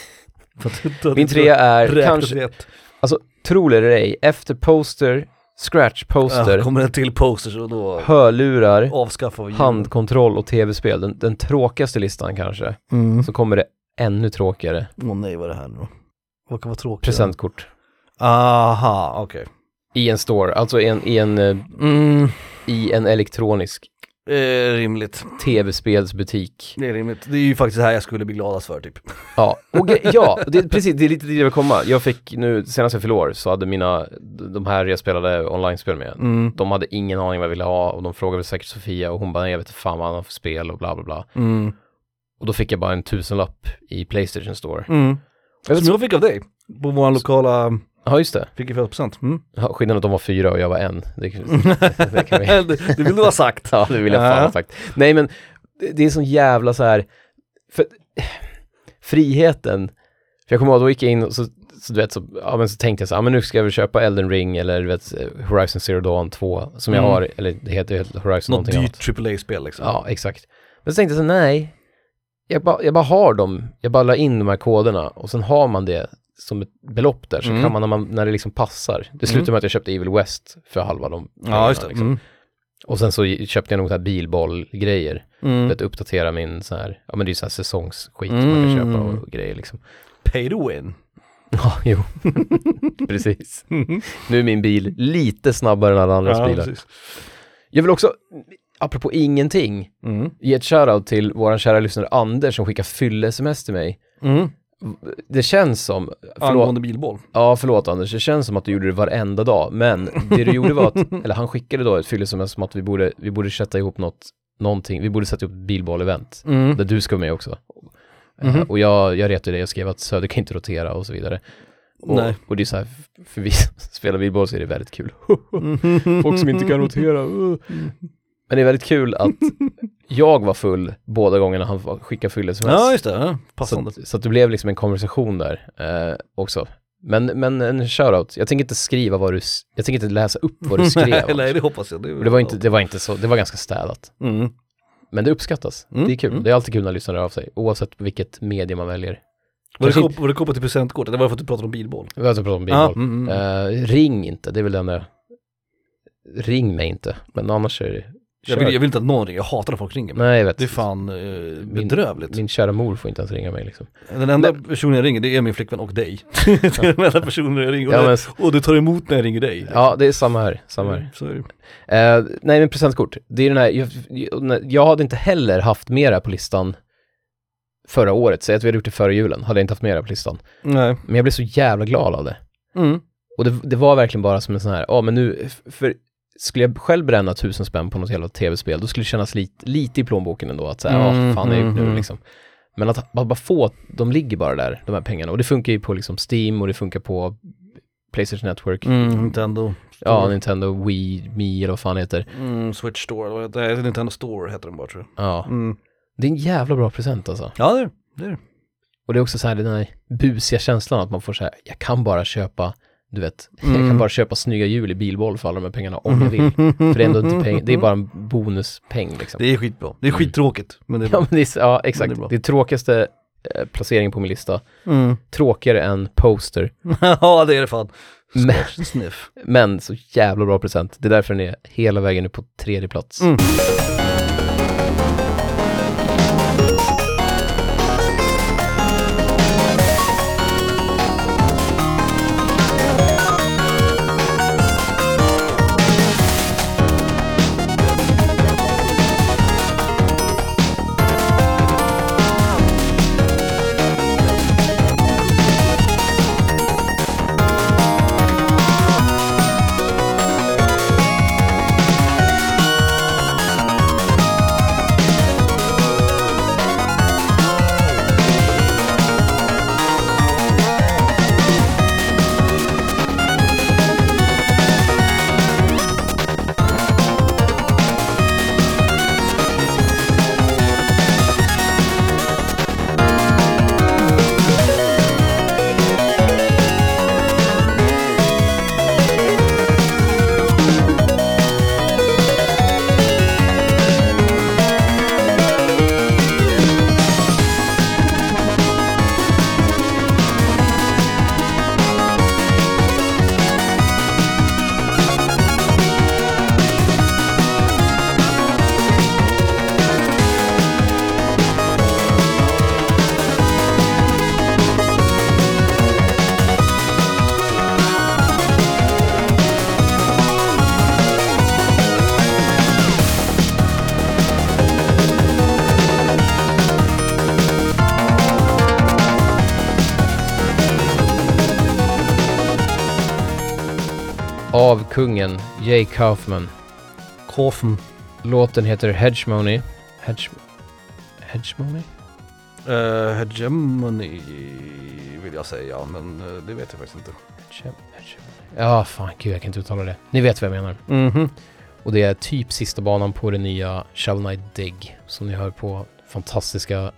A: [LAUGHS] För att du inte hade
B: Min trea är
A: räknat
B: kanske,
A: rätt.
B: alltså tro det eller ej, efter poster, scratch poster,
A: Ja, kommer en till poster och då
B: hörlurar,
A: avskaffar vi julen.
B: handkontroll och tv-spel, den, den tråkigaste listan kanske,
A: Mm.
B: så kommer det ännu tråkigare.
A: Åh nej, vad är det här nu då? Vad kan vara tråkigt?
B: Presentkort.
A: Aha, okej.
B: I en store, alltså i en, i en, eh,
A: Mm.
B: i en elektronisk
A: Eh, rimligt.
B: Tv-spelsbutik.
A: Det är rimligt. Det är ju faktiskt det här jag skulle bli gladast för typ.
B: Ja, och ge- ja det, precis, det är lite dit jag vill komma. Jag fick nu, senast jag fyllde år så hade mina, de här jag spelade online-spel med,
A: Mm.
B: de hade ingen aning vad jag ville ha och de frågade väl säkert Sofia och hon bara, nej jag vet inte fan vad han har för spel och bla bla bla.
A: Mm.
B: Och då fick jag bara en tusenlapp i Playstation Store.
A: Mm.
B: Jag vet-
A: Som jag fick av dig. På vår lokala,
B: Ja, just det.
A: fick ju 40%. Mm.
B: Ja, Skillnaden att de var fyra och jag var en. Det, det kan
A: [LAUGHS]
B: vi
A: det, det vill du ha sagt.
B: [LAUGHS] Ja, det vill jag fan
A: Mm. Ja.
B: ha sagt. Nej, men det- det är sån jävla så här, för [SIGHS] friheten, för jag kommer ihåg, då gick jag in och så, så du vet, så, ja, men så tänkte jag så här, ja, men nu ska jag väl köpa Elden Ring eller du vet, Horizon Zero Dawn 2, som
A: Mm.
B: jag har, eller det heter ju Horizon
A: Något
B: någonting
A: dyrt
B: annat.
A: AAA-spel liksom.
B: Ja, exakt. Men så tänkte jag så här, nej, jag bara, jag bara har dem, jag bara la in de här koderna och sen har man det som ett belopp där, så
A: Mm.
B: kan man när, man när det liksom passar. Det slutade
A: Mm.
B: med att jag köpte Evil West för halva de
A: ja just det.
B: liksom.
A: Mm.
B: Och sen så i- köpte jag något här bilbollgrejer
A: Mm.
B: för att uppdatera min så här, ja men det är ju så här säsongsskit som man kan
A: Mm.
B: köpa och grejer liksom. [LAUGHS]
A: Pay to win.
B: Ja, jo. [LAUGHS] precis. Nu är min bil lite snabbare än alla andras
A: Mm. Ja,
B: bilar.
A: precis.
B: Jag vill också, apropå ingenting,
A: Mm.
B: ge ett shoutout till våran kära lyssnare Anders som skickar fylle-sms till mig.
A: Mm.
B: Det känns som, förlåt,
A: Angående bilboll.
B: ja, förlåt Anders, det känns som att du gjorde det varenda dag, men det du gjorde var att,
A: [LAUGHS]
B: eller han skickade då ett fylle-sms som att vi borde, vi borde sätta ihop något, någonting, vi borde sätta ihop ett bilboll-event.
A: Mm.
B: där du ska vara med också.
A: Mhm.
B: Eh, Och jag, jag retade dig och skrev att Söder kan inte rotera och så vidare. Och,
A: Nej.
B: och det är så här, för vi som spelar bilboll så är det väldigt kul. [LAUGHS]
A: [LAUGHS]
B: Folk som inte kan rotera. uh. Men det är väldigt kul att jag var full båda gångerna han var- skickade fylles
A: Ja just det, ja. passande.
B: så, så att det blev liksom en konversation där eh, också. Men, men en shoutout, jag tänker inte skriva vad du, s- jag tänker inte läsa upp
A: [LAUGHS]
B: vad du skrev.
A: Nej, nej
B: Anders.
A: det hoppas jag.
B: Och det, var inte, det var inte så, det var ganska städat.
A: Mm.
B: Men det uppskattas.
A: Mm,
B: Det är kul.
A: mm.
B: Det är alltid kul när lyssnare hör av sig, oavsett vilket medie man väljer.
A: Var, det
B: Kanske
A: kop- var det kopplat till presentkortet? Det var för att du pratade om bilboll.
B: Vi har inte pratat om
A: Ja,
B: bilboll.
A: mm, mm.
B: Eh, ring inte, det är väl den där... Ring mig inte, men annars är det...
A: jag, vill, jag vill inte att någon ringer, jag hatar när folk ringer mig.
B: Nej, jag vet.
A: Det är fan eh, bedrövligt.
B: Min kära mor får inte ens ringa mig liksom.
A: Den enda personen jag ringer det är min flickvän och
B: [LAUGHS]
A: dig. det är den enda personen jag ringer. Och,
B: Ja,
A: det-
B: men,
A: och du tar emot när jag ringer dig.
B: ja, det är samma här. Samma här.
A: Mm, så är det.
B: Eh, nej, men presentkort. Det är den här, jag, jag- jag hade inte heller haft med det här på listan förra året. Säg att vi hade gjort det före julen, hade jag inte haft med det här på listan.
A: Nej.
B: Men jag blev så jävla glad av det.
A: Mm.
B: Och det, det var verkligen bara som en sån här, ja men nu, f- för skulle jag själv bränna tusen spänn på något jävla tv-spel, då skulle det kännas lite, lite i plånboken ändå, att säga, ja
A: Mm,
B: fan det är gjort
A: mm,
B: nu liksom. Men att bara, bara få, de ligger bara där, de här pengarna. Och det funkar ju på liksom Steam och det funkar på Playstation Network,
A: Mm, Nintendo.
B: ja,
A: Store.
B: Nintendo, Wii, Mi eller vad fan det heter.
A: Mm, Switch Store, eller vad heter det? Nej, Nintendo Store heter den bara tror jag.
B: Ja,
A: Mm.
B: det är en jävla bra present alltså.
A: Ja det är det. Är. det.
B: Och det är också så här den här busiga känslan att man får så här, jag kan bara köpa, du vet, [LAUGHS] jag
A: Mm.
B: kan bara köpa snygga hjul i bilboll för alla de här pengarna om
A: [LAUGHS]
B: jag vill. För det är ändå inte peng, det är bara en bonuspeng liksom.
A: Det är skitbra. Det är skittråkigt. Men det är
B: [LAUGHS] ja,
A: bra.
B: men det är, s- ja,
A: Men det är
B: exakt.
A: bra.
B: Det är tråkigaste eh, placeringen på min lista.
A: Mm.
B: Tråkigare än poster.
A: ja det är det fan.
B: Men-
A: Sniff. Sniff.
B: Men så jävla bra present. Det är därför den är hela vägen upp på tredje plats.
A: Mm.
B: kungen Jay Kaufman.
A: Kaufen.
B: Låten heter Hedgemony. Hedge... Hedgemony?
A: Uh, hegemony vill jag säga, men eh, det vet jag faktiskt inte.
B: Hedge- Hegemony. Ja, fan gud jag kan inte uttala det. Ni vet vad jag menar.
A: Mhm.
B: Och det är typ sista banan på det nya Shovel Knight Dig som ni hör på fantastiska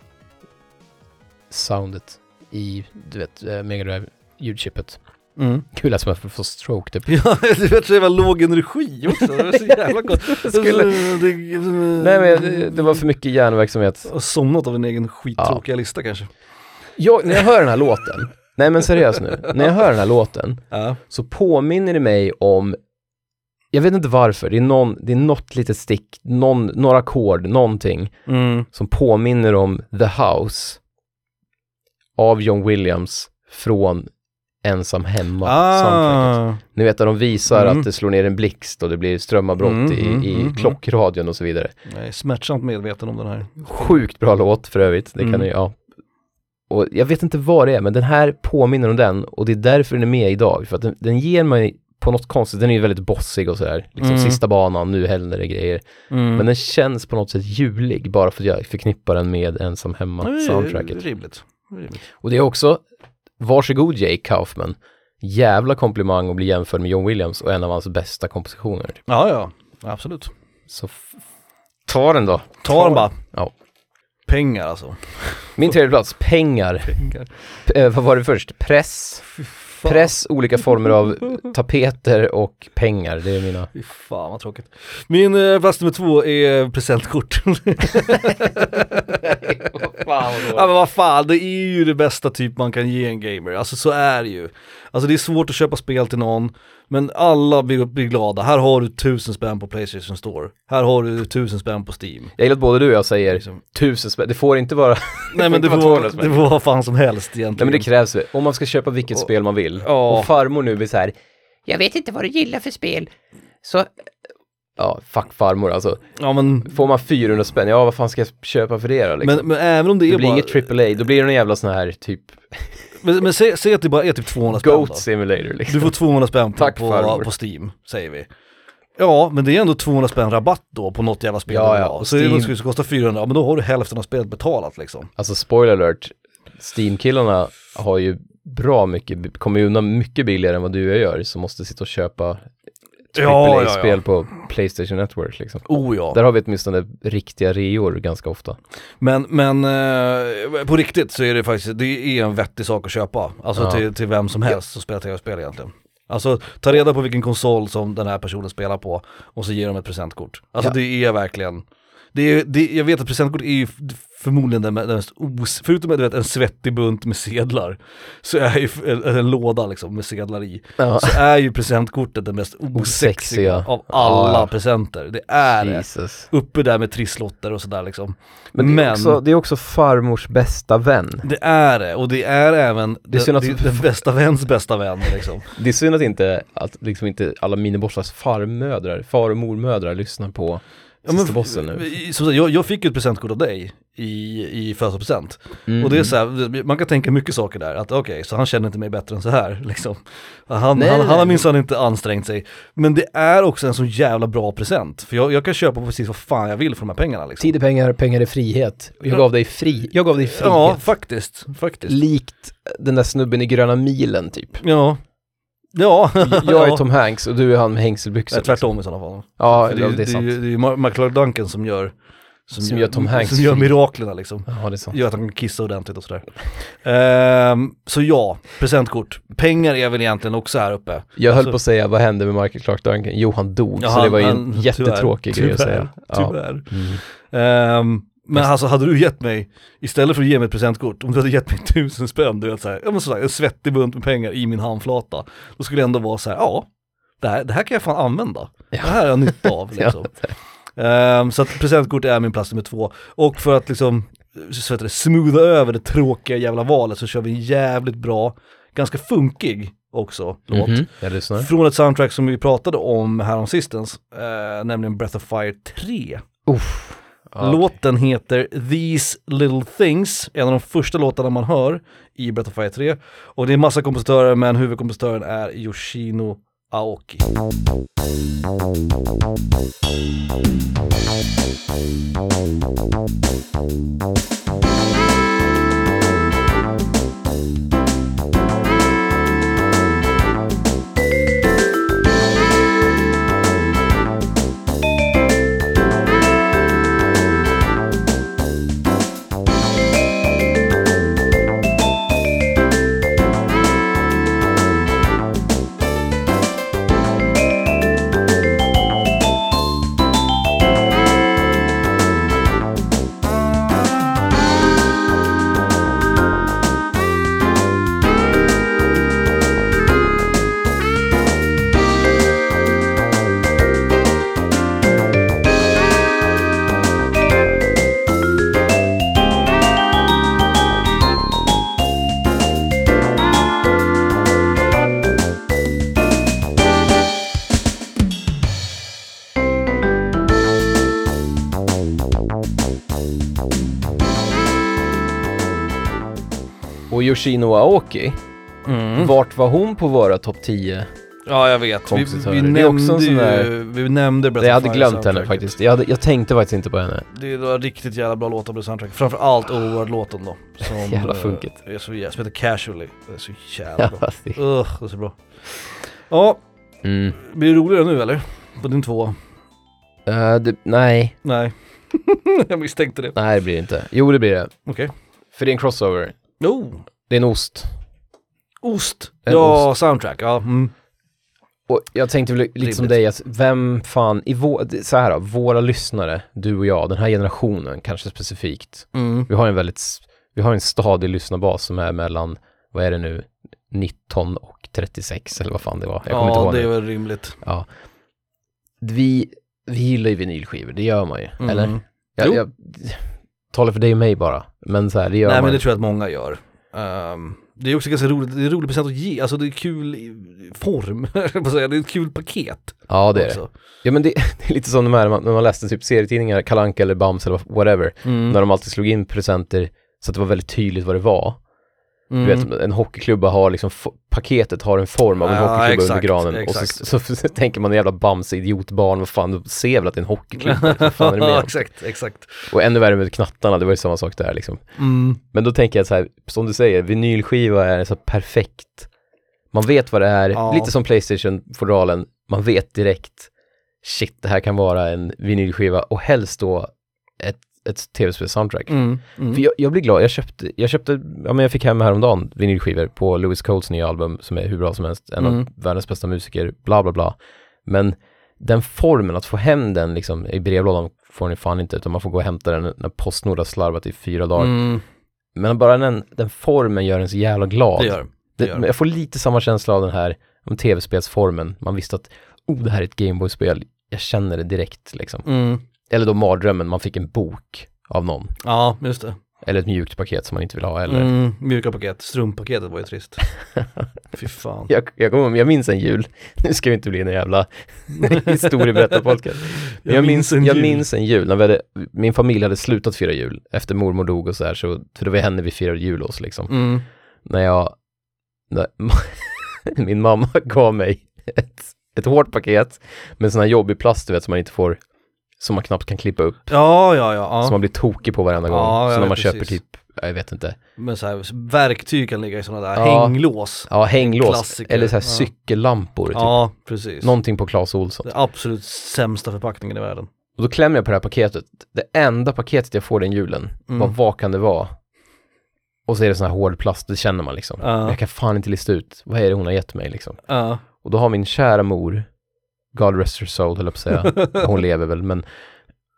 B: soundet i, du vet, eh, Mega Drive ljudchippet.
A: Mm.
B: Kul att man får- får stroke typ.
A: [LAUGHS] Ja, du vet så jävla låg energi också, det är så jävla
B: [LAUGHS]
A: gott.
B: Skulle- Nej men det, det var för mycket hjärnverksamhet.
A: Jag har somnat av en egen skittråkiga lista kanske.
B: Jag, när jag hör den här låten, nej men seriöst nu, när jag hör den här låten
A: Ja.
B: så påminner det mig om, jag vet inte varför, det är, någon, det är något litet stick, någon, några ackord, någonting
A: Mm.
B: som påminner om The House av John Williams från Ensam Hemma. soundtracket.
A: Ah.
B: Ni vet när de visar
A: Mm.
B: att det slår ner en blixt och det blir strömavbrott
A: Mm, mm,
B: i, i
A: mm,
B: klockradion och så vidare.
A: Jag är smärtsamt medveten om den här.
B: Sjukt bra låt för övrigt. Det kan
A: Mm.
B: ni, ja. Och jag vet inte vad det är, men den här påminner om den och det är därför den är med idag. För att den, den ger mig på något konstigt, den är ju väldigt bossig och sådär. Liksom
A: Mm.
B: sista banan, nu händer det grejer. Men den känns på något sätt julig bara för att jag förknippar den med Ensam
A: Nej, det är
B: Hemma-soundtracket.
A: Rimligt. Rimligt.
B: Och det är också, varsågod Jake Kaufman, jävla komplimang att bli jämförd med John Williams och en av hans bästa kompositioner. Typ.
A: Ja, ja, absolut.
B: Så f- ta den då.
A: Ta den bara.
B: Ja.
A: Pengar alltså.
B: Min tredje plats, pengar.
A: Pengar.
B: P- eh, vad var det först? Press.
A: Fy fan.
B: Press, olika
A: [LAUGHS]
B: former av tapeter och pengar. Det är mina...
A: Fy fan vad tråkigt. Min eh, plats nummer två är presentkort. [LAUGHS] Ja men vad fan, det är ju det bästa typ man kan ge en gamer. Alltså så är det ju. Alltså det är svårt att köpa spel till någon, men alla blir, blir glada. Här har du tusen spänn på Playstation Store. Här har du tusen spänn på Steam.
B: Jag gillar att både du och jag säger
A: Liksom.
B: tusen spänn. Det får inte vara...
A: Nej [LAUGHS] men det
B: får
A: får,
B: inte vara 200 spänn.
A: det får vara vad fan som helst
B: Nej
A: egentligen.
B: men det krävs ju. Om man ska köpa vilket spel man vill.
A: Ja.
B: Och farmor nu blir så här,
C: Jag vet inte vad du gillar för spel. Så
B: ja fuck farmor alltså.
A: ja, men,
B: Får man 400 spänn, ja vad fan ska jag köpa för det då liksom?
A: men, men även om det,
B: det
A: är
B: blir
A: bara,
B: inget AAA, då blir det en jävla sån här typ
A: men, men säg, säg att det bara är typ 200 spänn då.
B: Goat Simulator liksom.
A: Du får 200 spänn på,
B: Tack,
A: på,
B: farbror.
A: på Steam, säger vi. Ja, men det är ändå 200 spänn rabatt då på något jävla spel
B: Ja,
A: du vill
B: ja,
A: ha.
B: och
A: Så är det något
B: Steam-
A: spel som kostar 400, ja, men då har du hälften av spelet betalat liksom.
B: Alltså spoiler alert, Steam-killarna har ju bra mycket, kommer ju undan mycket billigare än vad du och jag gör, som måste sitta och köpa AAA-spel på Playstation Network liksom.
A: Oh ja.
B: Där har vi åtminstone riktiga reor ganska ofta.
A: Men, men eh, på riktigt så är det faktiskt, det är en vettig sak att köpa. Alltså
B: Ja.
A: till, till vem som helst som spelar tv-spel egentligen. Alltså ta reda på vilken konsol som den här personen spelar på och så ger de ett presentkort. Alltså
B: Ja.
A: det är verkligen, det är, det, jag vet att presentkort är ju f- förmodligen den, den mest os, förutom att du vet, en svettig bunt med sedlar, så är ju f- en, en låda liksom med sedlar i,
B: Ja.
A: så är ju presentkortet den mest osexiga
B: Osexiga.
A: av alla
B: Ja, ja.
A: presenter. Det är det.
B: Jesus.
A: Uppe där med trisslotter och sådär liksom.
B: Men, Det, är också, det är också farmors bästa vän.
A: Det är det, och det är även
B: är
A: den,
B: synd att-
A: det, den bästa väns bästa vän liksom.
B: Det är synd att inte, att liksom inte alla minibossars farmödrar, far och mormödrar lyssnar på sista bossen nu.
A: i- Som sagt, jag, jag fick ju ett presentkort av dig i, i födelsedagspresent. Och
B: Mm.
A: det är så här, man kan tänka mycket saker där, att okej, så han känner inte mig bättre än så här [LAUGHS] liksom. Han,
B: Nej,
A: han,
B: nej,
A: han har
B: nej.
A: minsann inte ansträngt sig. Men det är också en så jävla bra present, för jag, jag kan köpa precis vad fan jag vill för de här pengarna liksom.
B: Mm. Tid är pengar, pengar är frihet. Jag gav dig fri, jag gav dig frihet.
A: Ja, faktiskt, faktiskt.
B: Likt den där snubben i Gröna
A: [LAUGHS]
B: milen typ.
A: Ja. Ja,
B: Jag
A: [LAUGHS]
B: är Tom Hanks och du är han med hängselbyxor.
A: Nej,
B: liksom.
A: tvärtom i sådana fall.
B: Ja,
A: För
B: det, det
A: ju-
B: är sant.
A: det är ju Ma- Michael Duncan som gör
B: Som gör Tom Hanks
A: Som gör
B: fri.
A: miraklerna liksom.
B: Ja, det är sant.
A: Gör att han kan kissa ordentligt och sådär. Ehm, så ja, presentkort. Pengar är väl egentligen också här uppe.
B: Jag höll
A: Alltså-
B: på att säga, vad hände med Michael Clark Duncan? Jo, han dog.
A: Ja,
B: så det var ju en
A: han- han-
B: jättetråkig
A: tyvärr,
B: grej att säga.
A: Tyvärr.
B: Ja.
A: tyvärr.
B: Mm.
A: Ehm, men alltså hade du gett mig, istället för att ge mig ett presentkort, om du hade gett mig [LAUGHS] tusen spänn, du vet såhär, ja men sådär, en svettig bunt med pengar i min handflata, då skulle jag ändå vara så här, ja, det här, det här kan jag fan använda. Det här har jag nytta av liksom. Ehm, så att presentkort är min plats nummer två. Och för att liksom, så heter det, smootha över det tråkiga jävla valet så kör vi en jävligt bra, ganska funkig också låt.
B: Mhm. Jag lyssnar.
A: Från ett soundtrack som vi pratade om häromsistens, eh, nämligen Breath of Fire 3.
B: Uff.
A: Ah,
B: Ja,
A: Låten heter These Little Things, en av de första låtarna man hör i Breath of Fire 3. Och det är massa kompositörer, men huvudkompositören är Yoshino Aoki.
B: Och Yoshino Aoki,
A: Mm.
B: vart var hon på våra topp 10?
A: Ja jag vet, vi, vi,
B: Kompositörer. Det är också en
A: nämnde
B: sån
A: ju,
B: där-
A: vi nämnde Breath
B: Jag
A: of
B: hade
A: Fire
B: glömt henne
A: soundtracket.
B: faktiskt. Jag, hade, jag tänkte faktiskt inte på henne.
A: Det är några riktigt jävla bra låtar på det soundtracket, framförallt Overworld-låten då. Som,
B: [LAUGHS] Jävla
A: eh,
B: funket.
A: Är så, jä- som heter Casually, det är så jävla
B: [LAUGHS] Ja,
A: bra.
B: fast det-
A: Ugh, det är så bra. Ja,
B: Mm.
A: blir det roligare nu eller? På din tvåa?
B: Eh, det, nej, [LAUGHS]
A: Nej. jag misstänkte det.
B: nej det blir det inte. Jo det blir det.
A: Okej.
B: För det är en crossover.
A: Oh,
B: Det är en ost.
A: ost!
B: En
A: ja, soundtrack, ja. Mm.
B: Och jag tänkte väl lite som
A: Rimligt.
B: dig, att vem fan, i vår, så här då, våra lyssnare, du och jag, den här generationen kanske specifikt.
A: Mm.
B: Vi har en väldigt, s- vi har en stadig lyssnarbas som är mellan, vad är det nu, 19 och 36 eller vad fan det var. Jag kommer inte
A: Ja,
B: ihåg
A: det är
B: nu.
A: väl rimligt.
B: Ja. Vi, vi gillar ju vinylskivor, det gör man ju,
A: Mm.
B: eller? Jag,
A: Jo.
B: jag talar för dig och mig bara, men så här, det gör
A: Nej
B: man
A: men det
B: ju.
A: tror jag att många gör. Ehm, det är också ganska roligt, det är roligt present att ge, alltså det är kul i- form, [LAUGHS] höll jag på att säga. det är ett kul paket.
B: Ja, det är det.
A: också.
B: Ja, men det, [LAUGHS] det är lite som de här, när man, när man läste typ serietidningar, Kalle Anka eller Bams eller whatever.
A: Mm.
B: när de alltid slog in presenter så att det var väldigt tydligt vad det var.
A: Mm.
B: Du vet, en hockeyklubba har liksom, fo- paketet har en form av en
A: Ja,
B: hockeyklubba
A: exakt,
B: under granen.
A: exakt.
B: Och så, [LAUGHS] så, tänker man jävla bamse idiotbarn, vad fan, du ser väl att det är en hockeyklubba? liksom, vad
A: [LAUGHS]
B: fan är det
A: Ja,
B: med?
A: exakt, exakt.
B: och ännu värre med knattarna, det var ju samma sak där liksom.
A: Mm.
B: Men då tänker jag så här, som du säger, vinylskiva är så perfekt. Man vet vad det är,
A: Ja.
B: lite som Playstation-fodralen, man vet direkt, shit, det här kan vara en vinylskiva och helst då ett, ett tv-spel-soundtrack.
A: Mm.
B: För jag, jag blir glad, jag köpte, jag köpte, ja men jag fick hem häromdagen vinylskivor på Lewis Coles nya album som är hur bra som helst, en
A: Mm.
B: av världens bästa musiker, bla bla bla. Men den formen, att få hem den liksom i brevlådan får ni fan inte, utan man får gå och hämta den när Postnord har slarvat i fyra dagar.
A: Mm.
B: Men bara den, den formen gör en så jävla glad.
A: Det gör det
B: Det-
A: gör
B: men jag får lite samma känsla av den här om tv-spelsformen, man visste att oh, det här är ett Gameboy-spel, jag känner det direkt liksom.
A: mm.
B: Eller då mardrömmen, man fick en bok av någon.
A: Ja, just det.
B: Eller ett mjukt paket som man inte vill ha eller
A: Mm. Mjuka paket, strumpaketet var ju trist. Fy fan.
B: [LAUGHS] Jag, jag, kommer- jag minns en jul, [LAUGHS] nu ska vi inte bli en jävla [LAUGHS]
A: [LAUGHS]
B: historieberättarpodcast. Men jag minns, jag minns en jul, när vi hade, min familj hade slutat fira jul efter mormor dog och så här, så, för det var henne vi firade jul hos liksom.
A: Mm.
B: När jag, när, [LAUGHS] min mamma gav mig ett, ett hårt paket med sån här jobbig plast du vet som man inte får, som man knappt kan klippa upp,
A: Ja, ja, ja.
B: som
A: ja.
B: man blir tokig på varenda gång.
A: Ja, jag
B: så när
A: vet
B: man köper
A: precis.
B: typ, jag vet inte,
A: Men så här, verktyg kan ligga i sådana där
B: Ja.
A: hänglås.
B: ja hänglås,
A: Klassiker.
B: eller så här
A: Ja.
B: cykellampor typ.
A: Ja, precis.
B: Någonting på Clas Ohlson.
A: Den absolut sämsta förpackningen i världen.
B: Och då klämmer jag på det här paketet. Det enda paketet jag får den julen,
A: Mm.
B: vad, vad kan det vara? Och så är det sån här hård plast, det känner man liksom.
A: Ja.
B: Jag kan fan inte lista ut, vad är det hon har gett mig liksom?
A: Ja.
B: Och då har min kära mor, God rest her soul höll jag på att [LAUGHS] säga, hon lever väl, men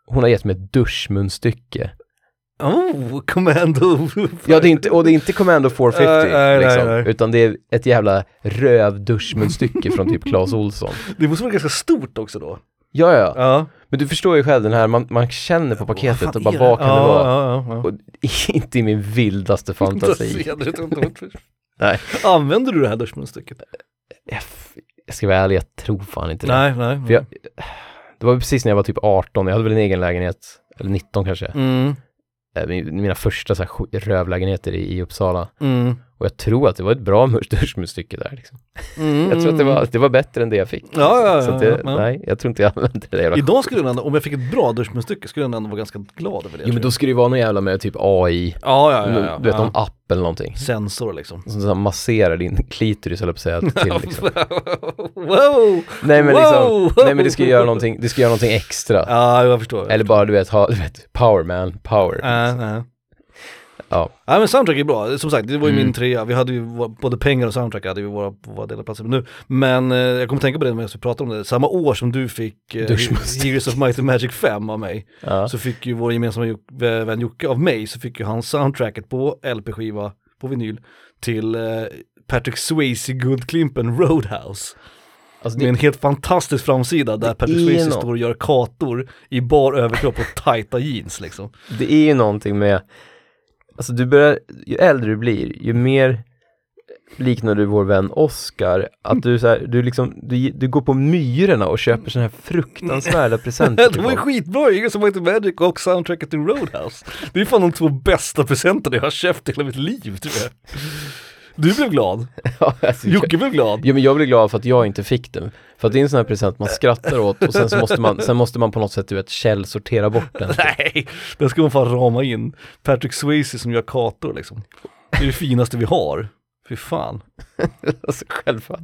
B: hon har gett mig ett duschmunstycke.
A: [LAUGHS] Oh, commando!
B: Ja, det är inte, och det är inte Commando 450
A: Nej, nej,
B: liksom,
A: nej, nej.
B: utan det är ett jävla röv duschmunstycke från typ Clas Olsson.
A: Det måste vara ganska stort också då.
B: Ja, ja,
A: Ja.
B: men du förstår ju själv den här, man, man känner på
A: fan
B: paketet och
A: är
B: bara, vad kan
A: ja,
B: det vara?
A: Ja, ja, ja.
B: Och [LAUGHS] inte i min
A: [LAUGHS]
B: vildaste fantasi.
A: Jag vet inte vad det-
B: Nej.
A: Använder du det här duschmunstycket?
B: Jag f- Jag ska vara ärlig, jag tror fan inte det.
A: Nej, nej.
B: För jag- Det var precis när jag var typ 18, jag hade väl en egen lägenhet, eller 19 kanske.
A: Mm,
B: Eh, min- Mina första så här, sj- rövlägenheter i, i Uppsala.
A: mm.
B: Och jag tror att det var ett bra [LAUGHS] mustaschmunstycke där. Liksom.
A: mm.
B: Jag tror att det var, det var bättre än det jag fick.
A: Ja, ja,
B: så att
A: ja,
B: det,
A: ja.
B: Nej, jag tror inte jag använde det där jävla
A: Idag skulle den ändå, om jag fick ett bra duschmunstycke skulle den ändå vara ganska glad över det.
B: Jo men
A: tror jag.
B: då skulle det ju vara någon jävla med typ AI,
A: ja, ja, ja, ja.
B: du vet
A: ja.
B: någon app eller någonting.
A: Sensor
B: [LAUGHS]
A: liksom.
B: Som så här masserar din [LAUGHS] klitoris eller på att
A: [LAUGHS]
B: säga till liksom.
A: wow!
B: Nej men
A: Wow!
B: liksom, nej men det ska ju göra någonting, det ska göra någonting extra.
A: Ja, jag förstår.
B: Eller bara du vet, ha, du vet, power man, power.
A: Ja, ja.
B: Ja.
A: Ja men soundtrack är bra, som sagt det var ju
B: Mm.
A: min trea, vi hade ju vår- både pengar och soundtrack hade vi våra, på våra delaplatser nu. Men eh, jag kommer tänka på det när vi pratade om det, samma år som du fick eh,
B: Duschmusik.
A: Heroes of Might and Magic 5 av mig,
B: Ja.
A: så fick ju vår gemensamma Juk- vä- vän Jocke av mig, så fick ju han soundtracket på LP-skiva, på vinyl, till eh, Patrick Swayze Guldklimpen Roadhouse.
B: Alltså,
A: Med en
B: det,
A: helt fantastisk framsida där Patrick
B: är
A: Swayze
B: något.
A: står och gör kator i bar överkropp och tajta jeans liksom.
B: det är ju någonting med, alltså du börjar, ju äldre du blir, ju mer liknar du vår vän Oscar, att du så här, du liksom, du, du går på myrorna och köper sådana här
A: [LAUGHS]
B: fruktansvärda presenter.
A: Det
B: till
A: var ju
B: folk.
A: skitbra, Eagles of Might and Magic och soundtracket till Roadhouse. Det är fan de två bästa presenterna jag har köpt i hela mitt liv tror jag. Du blev glad,
B: Ja, alltså, jag-
A: Jocke blev glad.
B: Ja, men jag blir glad för att jag inte fick den. För att det är en sån här present man skrattar åt och sen så måste man, sen måste man på något sätt du vet, källsortera bort [LAUGHS] den.
A: [LAUGHS] Nej, den ska man fan rama in. Patrick Swayze som gör kator liksom. Det är det finaste vi har. Fy fan.
B: Alltså, själva.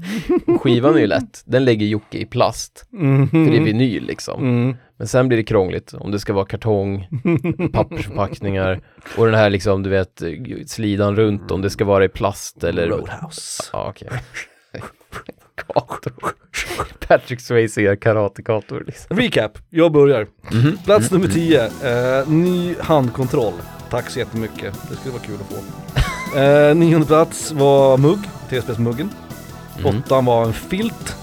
B: Skivan är ju lätt, den lägger Jocke i plast, för det är vinyl liksom.
A: Mm.
B: Men sen blir det krångligt om det ska
A: [LAUGHS]
B: vara kartong, pappersförpackningar och den här liksom, du vet, slidan runt om det ska vara i plast eller...
A: Roadhouse.
B: Ja, okej. [LAUGHS] Kator. Patrick Swayze gör karatekator liksom.
A: Recap, jag börjar.
B: Mhm.
A: Plats
B: Mm.
A: nummer 10, eh, ny handkontroll. Tack så jättemycket, det skulle vara kul att få. Eh, nionde plats var mugg, TSPS-muggen.
B: Mhm.
A: Åttan var en filt.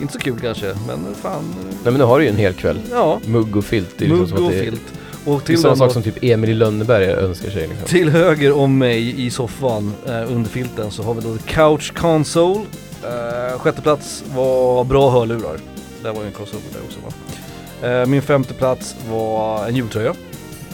A: Inte så kul kanske, men fan, eh,
B: Nej men nu har du ju en hel kväll.
A: ja.
B: Mugg och filt, det är liksom
A: Mugg
B: som att
A: och
B: det är...
A: filt. Och
B: Det är
A: till,
B: samma
A: den
B: sak
A: då,
B: som typ Emil i Lönneberg önskar sig.
A: [LAUGHS]
B: Liksom.
A: till höger om mig i soffan eh, under filten så har vi då The Couch Console. Eh, sjätte plats var bra hörlurar. Det där var ju en crossover där också va. Eh, min femte plats var en jultröja.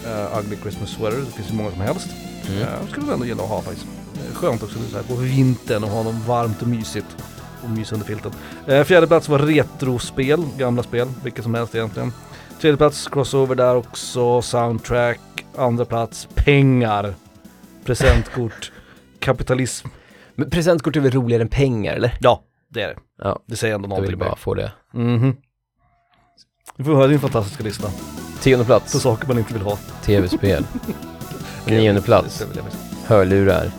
A: Eh, ugly Christmas sweater, det finns ju många som helst.
B: Mm.
A: Eh, skulle man ändå gilla att ha faktiskt. Eh, skönt också nu så här på vintern och ha något varmt och mysigt. Och mys under filten. Eh, fjärde plats var retrospel, gamla spel, vilka som helst egentligen. Tredje plats crossover där också, soundtrack. Andra plats pengar, [LAUGHS] presentkort, kapitalism.
B: Men presentkort är väl roligare än pengar eller?
A: Ja, det är det.
B: Ja,
A: Det säger ändå
B: jag ville
A: någonting.
B: bara få det.
A: Mhm. Du får höra din fantastiska lista
B: Tionde
A: på
B: plats,
A: saker man inte vill ha. [LAUGHS]
B: tv-spel. Nionde plats, hörlurar.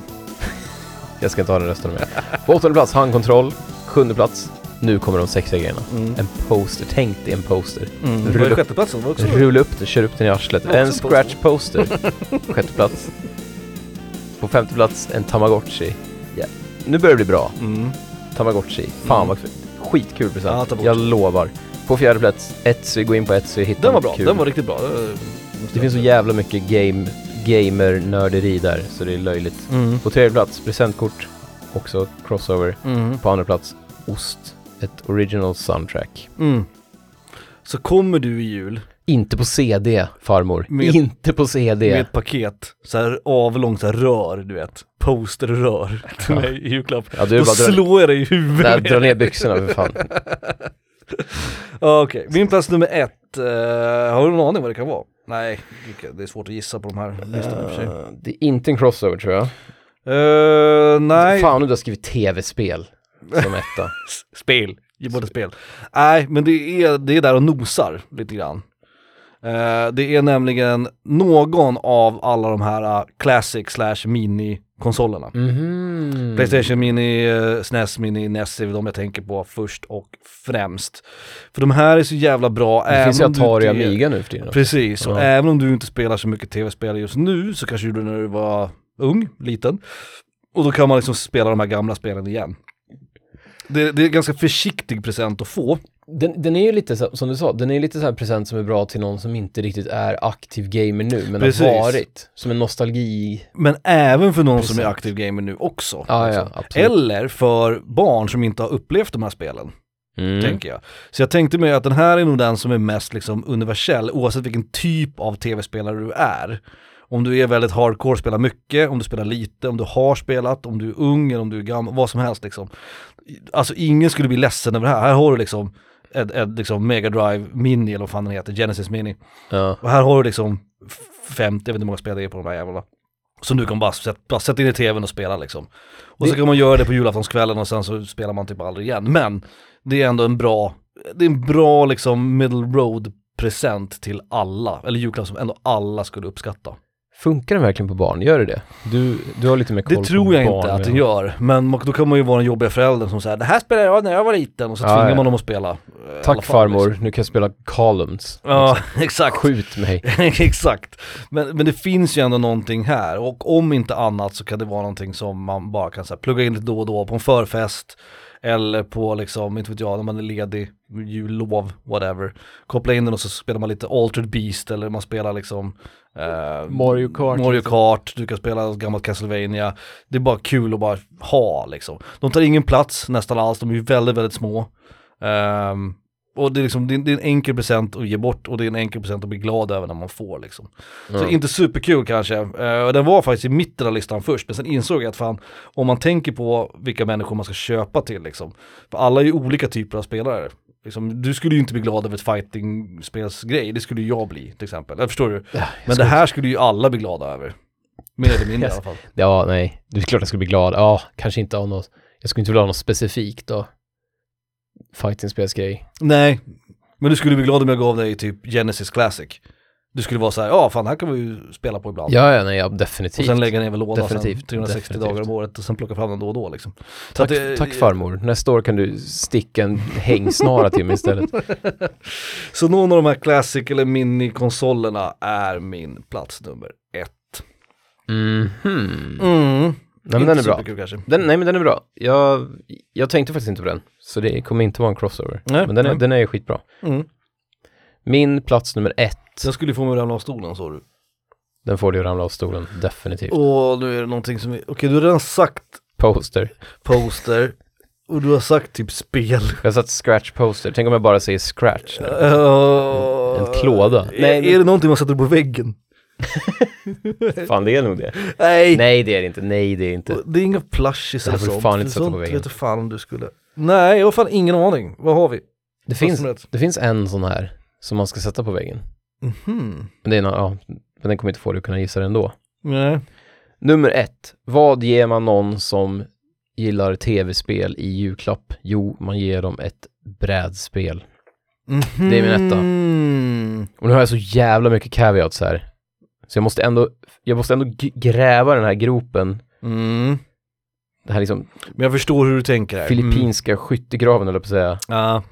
B: jag ska inte ha den resten med. På åttonde plats, handkontroll. Sjunde plats, nu kommer de sexiga grejerna.
A: Mm.
B: En poster, tänk dig en poster.
A: Mm.
B: Rulla-
A: Vad är sjätte platsen? Var också
B: Rulla upp den, kör upp den i arslet.
A: Det var
B: En
A: också en poster.
B: scratch poster. Sjätte plats. På femte plats, en tamagotchi. Ja. Nu börjar det bli bra.
A: Mm.
B: Tamagotchi. Fan
A: Mm.
B: vad kul. Skitkul
A: Ja,
B: present.
A: Tamagotchi.
B: jag lovar. På fjärde plats, Etsy, gå in på Etsy, hitta
A: Den var
B: något
A: bra,
B: kul.
A: den var riktigt bra.
B: Det finns så jävla mycket game, gamer-nörderi där, så det är löjligt.
A: Mm.
B: På tredje plats, presentkort. Också crossover.
A: Mm.
B: På andra plats, ost. Ett original soundtrack.
A: Mm. Så kommer du i jul
B: Inte på CD, farmor.
A: Med-
B: Inte på CD.
A: med ett paket, så här avlångt så här rör, du vet, posterrör
B: [LAUGHS]
A: till mig i julklapp.
B: Ja, du
A: Då
B: är bara dra,
A: slår jag dig i huvudet
B: där,
A: med.
B: dra ner byxorna för [LAUGHS] fan.
A: Ja, Okej, min plats nummer ett, eh, har du någon aning vad det kan vara? Nej, det är svårt att gissa på de här listorna i och för sig.
B: Eh, det är inte en crossover tror jag.
A: Eh, nej,
B: Fan om du har skrivit tv-spel som etta.
A: spel, ge både spel. Nej, men det är, det är där och nosar lite grann. Eh, det är nämligen någon av alla de här eh, classic slash mini-konsolerna.
B: [LAUGHS] Mm. Mhm.
A: Playstation Mini, eh, SNES Mini, NES är väl de jag tänker på först och främst. För de här är så jävla bra.
B: Det finns ju
A: även om du
B: Atari
A: inte är-
B: Amiga nu för tiden. också.
A: Precis, och
B: Alltså. Ja.
A: även om du inte spelar så mycket tv-spel just nu så kanske du gjorde det när du var ung, liten. Och då kan man liksom spela de här gamla spelen igen. Det, det är en ganska försiktig present att få.
B: Den, den är ju lite så, som du sa, den är lite så här present som är bra till någon som inte riktigt är aktiv gamer nu, men
A: Precis.
B: har varit. Som en nostalgi.
A: Men även för någon som är
B: Present.
A: aktiv gamer nu också.
B: Ja, ja,
A: liksom.
B: absolut.
A: Eller för barn som inte har upplevt de här spelen.
B: Mm.
A: tänker jag. Så jag tänkte mig att den här är nog den som är mest liksom universell, oavsett vilken typ av tv-spelare du är. Om du är väldigt hardcore, spela mycket, om du spelar lite, om du har spelat, om du är ung eller om du är gammal, vad som helst liksom. Alltså ingen skulle bli ledsen över det här. Här har du liksom ett, ett liksom Mega Drive Mini eller vad fan den heter, Genesis Mini.
B: Ja.
A: Och här har du liksom 50, jag vet inte hur många spel det är på de här jävlarna. Som du kan bara sätta, bara sätta in i tvn och spela liksom. Och så
B: Det-
A: kan man göra det på julaftonskvällen och sen så spelar man typ aldrig igen. Men det är ändå en bra, det är en bra liksom middle road present till alla, eller julklapp som ändå alla skulle uppskatta.
B: Funkar den verkligen på barn? Gör det det? Du, du har lite mer koll
A: Det
B: på
A: tror jag
B: barn
A: inte att
B: än
A: den
B: jag.
A: gör, men man- då kan man ju vara den jobbiga föräldern som säger det här spelade jag när jag var liten och så
B: Ja,
A: tvingar
B: ja.
A: man dem att spela. eh, i alla fall,
B: Tack farmor,
A: Liksom.
B: nu kan jag spela columns.
A: Ja, [LAUGHS] exakt.
B: Skjut mig.
A: [LAUGHS] Exakt. Men, men det finns ju ändå någonting här och om inte annat så kan det vara någonting som man bara kan så här, plugga in lite då och då på en förfest eller på liksom, inte vet jag, när man är ledig, jullov, whatever. Koppla in den och så spelar man lite Altered Beast eller man spelar liksom eh,
B: [LAUGHS] Mario Kart.
A: Mario Kart, du kan spela gammalt Castlevania. Det är bara kul att bara ha liksom. De tar ingen plats nästan alls, de är ju väldigt, väldigt små. Ehm, och det är, liksom, det, är, det är en enkel present att ge bort och det är en enkel present att bli glad över när man får liksom. Så inte superkul kanske. Eh, och den var faktiskt i mitten av listan först, men sen insåg jag att fan, om man tänker på vilka människor man ska köpa till liksom. För alla är ju olika typer av spelare. Liksom, du skulle ju inte bli glad över ett fighting-spelsgrej, det skulle ju jag bli till exempel. Jag förstår du? Men det här skulle ju alla bli glada över. Mer eller mindre i alla fall.
B: Ja, nej. Det är klart jag skulle bli glad. Ja, kanske inte av något. Jag skulle inte vilja ha något specifikt då. Fighting-spelsgrej.
A: Nej, men du skulle bli glad om jag gav dig typ Genesis Classic. Du skulle vara så här, ja fan här kan vi ju spela på ibland.
B: Ja, ja, nej, ja,
A: Och
B: definitivt.
A: sen lägga ner i lådan sen
B: Definitivt,
A: 360 dagar om
B: definitivt.
A: året och sen plocka fram den då och då liksom. Så
B: tack,
A: att det-
B: tack farmor. Nästa år kan du sticka en hängsnara till
A: [LAUGHS]
B: mig istället.
A: Så någon av de här Classic eller minikonsolerna är min plats nummer ett.
B: Mhm.
A: Mm.
B: Nej, men den är bra.
A: Superkul kanske.
B: Den, nej men den är bra. Jag, jag tänkte faktiskt inte på den. Så det kommer inte vara en crossover.
A: Nej,
B: men den är,
A: nej.
B: den är ju skitbra.
A: Mm.
B: Min plats nummer ett,
A: Jag skulle ju få mig att ramla av stolen sa du.
B: den får du ramla av stolen, definitivt.
A: Och nu är det någonting som, är- okej du har redan sagt
B: Poster.
A: poster och du har sagt typ spel.
B: Jag har satt scratch poster, tänk om jag bara säger scratch nu.
A: Eh,
B: En klåda.
A: Är, är det någonting man sätter på väggen?
B: [LAUGHS] fan det är nog det.
A: Nej,
B: Nej det är det inte, nej det är inte.
A: det är inga plushies
B: Det här
A: eller
B: får du
A: sånt.
B: fan inte
A: Det
B: sätta på
A: sånt
B: väggen.
A: Vet du fan om du skulle. Nej, jag har fan ingen aning. Vad har vi?
B: Det finns,
A: som helst.
B: det finns en sån här som man ska sätta på väggen.
A: Mhm.
B: Men, det är nå- ja, men den kommer inte få dig att kunna gissa den ändå.
A: Nej.
B: Nummer ett, vad ger man någon som gillar tv-spel i julklapp? Jo, man ger dem ett brädspel.
A: Mhm.
B: Det är min etta. Och nu har jag så jävla mycket caveats här. Så jag måste ändå, jag måste ändå g- gräva den här gropen.
A: Mm.
B: Den här liksom
A: Men jag förstår hur du tänker här. Mm.
B: filippinska skyttegraven, eller på att säga.
A: Ja,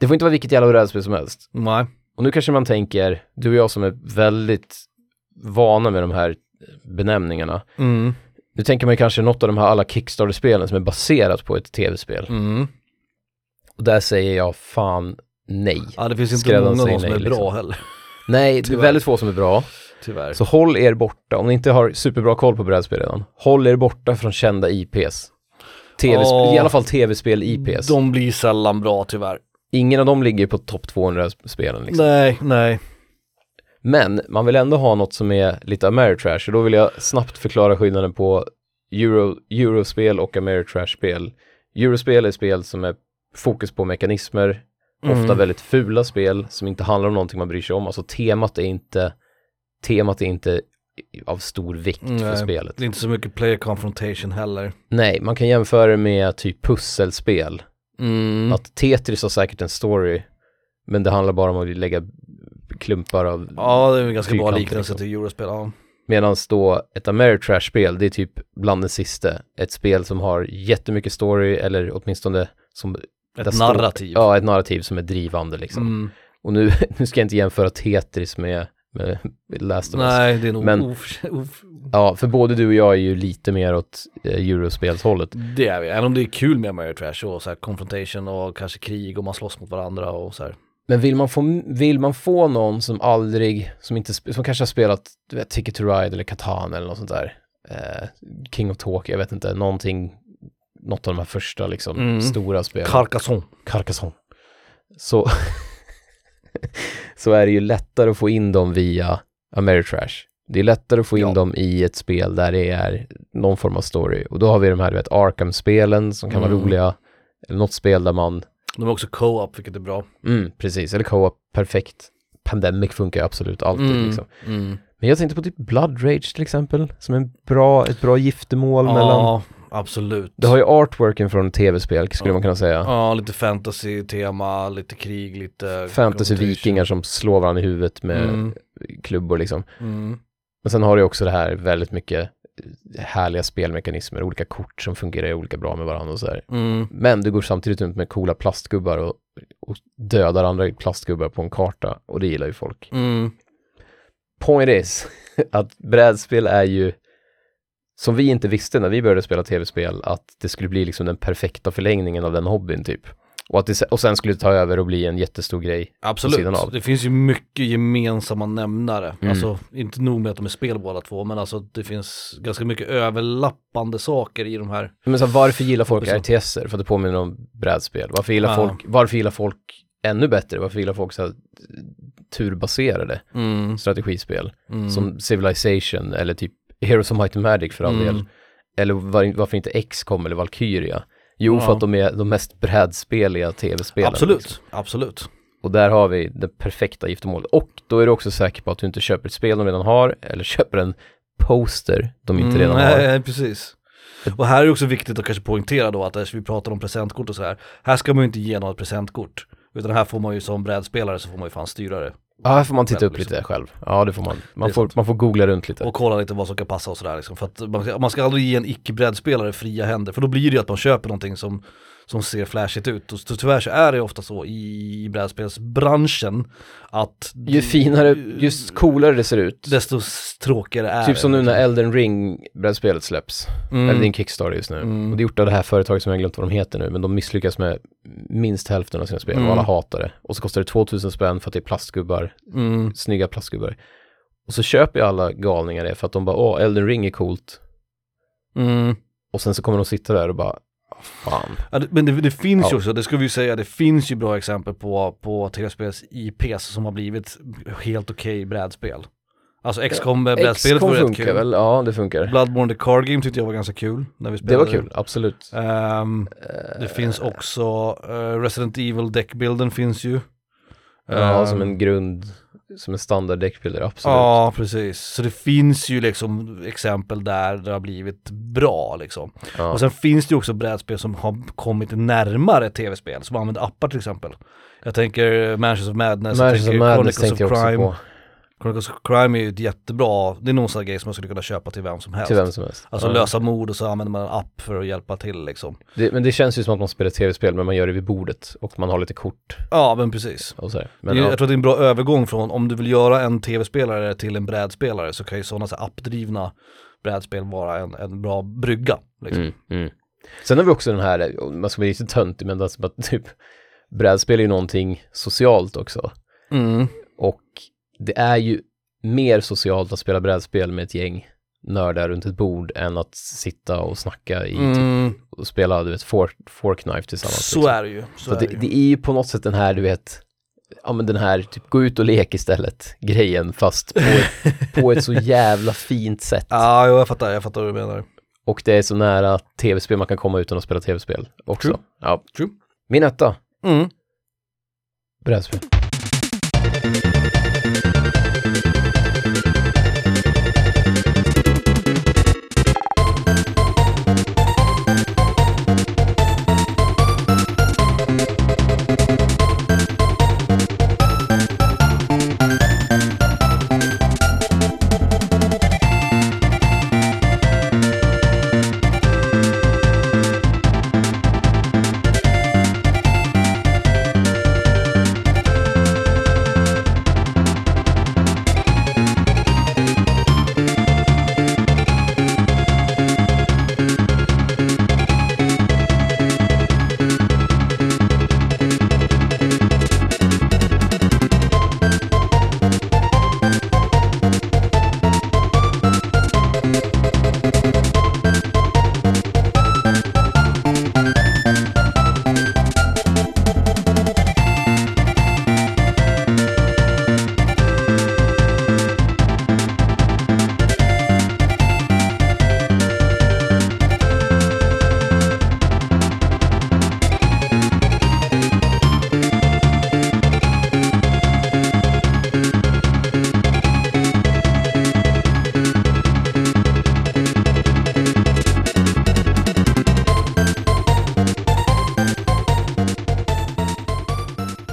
B: Det får inte vara vilket jävla brädspel som helst.
A: nej.
B: Och nu kanske man tänker, du och jag som är väldigt vana med de här benämningarna.
A: Mm.
B: Nu tänker man ju kanske något av de här alla Kickstarter-spelen som är baserat på ett tv-spel.
A: Mm.
B: Och där säger jag fan nej.
A: Ja, det finns inte
B: Skräddaren
A: många av
B: säger
A: dem som är
B: nej,
A: bra
B: liksom.
A: heller.
B: Nej, det är
A: Tyvärr.
B: väldigt få som är bra.
A: Tyvärr.
B: Så håll er borta, om ni inte har superbra koll på brädspel redan, håll er borta från kända IPs. TV
A: Ja.
B: I alla fall tv-spel IPs.
A: De blir sällan bra tyvärr.
B: Ingen av dem ligger på topp 200-spelen. Liksom.
A: Nej, nej.
B: Men man vill ändå ha något som är lite Ameritrash och då vill jag snabbt förklara skillnaden på Euro, Eurospel och Ameritrash-spel. Eurospel är spel som är fokus på mekanismer,
A: Mm.
B: ofta väldigt fula spel som inte handlar om någonting man bryr sig om. Alltså temat är inte, temat är inte av stor vikt för
A: Nej.
B: spelet.
A: Det är inte så mycket player confrontation heller.
B: Nej, man kan jämföra det med typ pusselspel.
A: Mm.
B: Att Tetris har säkert en story, men det handlar bara om att lägga klumpar av...
A: Ja, det är en ganska bra
B: Fyrkant,
A: liknelse
B: liksom.
A: till Eurospel. Ja.
B: Medan då ett Ameritrash-spel, det är typ bland det sista. Ett spel som har jättemycket story, eller åtminstone som... där
A: Ett
B: står-
A: narrativ.
B: Ja, ett narrativ som är drivande liksom.
A: Mm.
B: Och nu, [LAUGHS] nu ska jag inte jämföra Tetris med, med Last of Us.
A: Nej, det är nog
B: Men-
A: of, of,
B: Ja, för både du och jag är ju lite mer åt eh, Eurospelshållet.
A: Det är vi, även om det är kul med Mario Trash och så här confrontation och kanske krig och man slåss mot varandra och så här.
B: Men vill man, få, vill man få någon som aldrig, som, inte, sp- som kanske har spelat du vet, Ticket to Ride eller Catan eller något sånt där, eh, King of Talk, jag vet inte, någonting, något av de här första liksom
A: Mm.
B: stora spelen,
A: Carcassonne.
B: Carcassonne, så, [LAUGHS] så är det ju lättare att få in dem via Ameritrash. Det är lättare att få in
A: Ja.
B: dem i ett spel där det är någon form av story. Och då har vi de här, du vet, Arkham-spelen som kan vara
A: Mm.
B: roliga. Eller något spel där man,
A: De har också co-op vilket är bra.
B: mm, precis, eller co-op, perfekt. Pandemic funkar ju absolut alltid liksom.
A: Mm.
B: Men jag tänkte på typ Blood Rage till exempel, som en bra, ett bra giftermål mellan...
A: Ja, absolut.
B: Det har ju artworken från tv-spel skulle
A: Ja.
B: man kunna säga.
A: Ja, lite fantasy-tema, lite krig, lite...
B: Fantasy-vikingar som slår varandra i huvudet med
A: Mm,
B: klubbor liksom.
A: mm.
B: Men sen har du också det här väldigt mycket eh, härliga spelmekanismer, olika kort som fungerar olika bra med varandra och sådär.
A: Mm.
B: Men du går samtidigt runt med coola plastgubbar och, och dödar andra plastgubbar på en karta och det gillar ju folk.
A: Mm.
B: Point is [LAUGHS] att brädspel är ju, som vi inte visste när vi började spela tv-spel, att det skulle bli liksom den perfekta förlängningen av den hobbyn typ. Och, att det, se- och sen skulle det ta över och bli en jättestor grej. sidan av.
A: Absolut, det finns ju mycket gemensamma nämnare.
B: Mm.
A: Alltså inte nog med att de är spel båda två, men alltså det finns ganska mycket överlappande saker i de här.
B: Men så här, varför gillar folk
A: Precis.
B: RTSer? För att det påminner om brädspel. Varför gillar,
A: Ja.
B: folk, varför gillar folk ännu bättre? Varför gillar folk så här, turbaserade
A: Mm.
B: strategispel?
A: Mm.
B: Som Civilization eller typ Heroes of Might and Magic för all
A: Mm.
B: del. Eller var, varför inte XCOM eller Valkyria? Jo, för
A: Ja.
B: att de är de mest brädspeliga tv-spelen.
A: Absolut,
B: liksom.
A: absolut.
B: Och där har vi det perfekta giftermålet. Och då är du också säker på att du inte köper ett spel de redan har, eller köper en poster de inte redan
A: Mm, nej,
B: har.
A: nej, precis. Och här är också viktigt att kanske poängtera då att eftersom vi pratar om presentkort och så här, här ska man ju inte ge något presentkort. Utan här får man ju som brädspelare så får man ju fan styra det.
B: Ja, här får man titta upp
A: Liksom.
B: lite själv. Ja, det får man. Man,
A: Det är
B: får, man får googla runt lite.
A: Och kolla lite vad som kan passa och sådär liksom. För att man ska, man ska aldrig ge en icke-brädspelare fria händer. För då blir det ju att man köper någonting som, som ser flashigt ut. Och ty- tyvärr så är det ju ofta så i brädspelsbranschen att
B: ju finare, ju coolare det ser ut.
A: desto s- tråkigare är
B: typ
A: det.
B: som nu när Elden Ring-brädspelet släpps.
A: Mm.
B: Eller det är en Kickstarter just nu.
A: Mm.
B: Och det är gjort av det här företaget som jag har glömt vad de heter nu, men de misslyckas med minst hälften av sina spel
A: Mm.
B: och alla hatar det. Och så kostar det 2000 spänn för att det är plastgubbar,
A: Mm.
B: snygga plastgubbar. Och så köper ju alla galningar det för att de bara, åh, Elden Ring är coolt.
A: Mm.
B: Och sen så kommer de sitta där och bara, "Ah, fan.
A: Ja, det- men det, det finns ju
B: Ja.
A: också, det ska vi ju säga, det finns ju bra exempel på, på tv-spels IPs som har blivit helt okej brädspel. Alltså XCOM brädspelet
B: XCOM
A: var rätt
B: funkar
A: kul.
B: väl? Ja, det funkar.
A: Bloodborne the Card Game tyckte jag var ganska kul när vi
B: Det
A: spelade
B: var kul, absolut.
A: Ehm,
B: Eh,
A: Det finns också eh, Resident Evil deckbilden finns ju.
B: Ja,
A: Ehm,
B: som en grund, som en standard deckbuilder, absolut.
A: Ja, precis. Så det finns ju liksom exempel där det har blivit bra liksom.
B: Ja.
A: Och sen finns det ju också brädspel som har kommit närmare tv-spel, som använder appar till exempel. Jag tänker Mansions of Madness,
B: Mansions
A: jag
B: of
A: tänker
B: Madness
A: Chronicles
B: tänkte jag
A: of
B: också
A: Crime.
B: på,
A: Chronicles of Crime är ju ett jättebra, det är någon sån här grej som man skulle kunna köpa till vem som helst.
B: till vem som helst.
A: Alltså
B: Ja.
A: lösa mord och så använder man en app för att hjälpa till liksom.
B: Det, men det känns ju som att man spelar tv-spel, men man gör det vid bordet och man har lite kort
A: Ja, men precis.
B: och sådär.
A: Det är
B: Men,
A: ju-
B: ja.
A: Jag tror att det är en bra övergång från om du vill göra en tv-spelare till en brädspelare så kan ju sådana så här appdrivna brädspel vara en, en bra brygga. Liksom.
B: mm, mm. Sen har vi också den här, och man ska bli lite töntig, men alltså att [LAUGHS] typ brädspel är ju någonting socialt också.
A: Mm.
B: Och det är ju mer socialt att spela brädspel med ett gäng nördar runt ett bord än att sitta och snacka i, typ,
A: Mm.
B: och spela, du vet, fork, forkknife tillsammans.
A: Så
B: liksom.
A: är det ju. Så
B: Så
A: är
B: det,
A: det ju.
B: det är ju på något sätt den här, du vet, ja men den här typ gå ut och lek istället grejen fast
A: [LAUGHS]
B: på ett, på ett så jävla fint sätt.
A: Ja, jo, jag fattar, jag fattar vad du menar.
B: Och det är så nära tv-spel man kan komma utan att spela tv-spel också.
A: True.
B: Ja.
A: True.
B: Min etta,
A: Mm.
B: brädspel.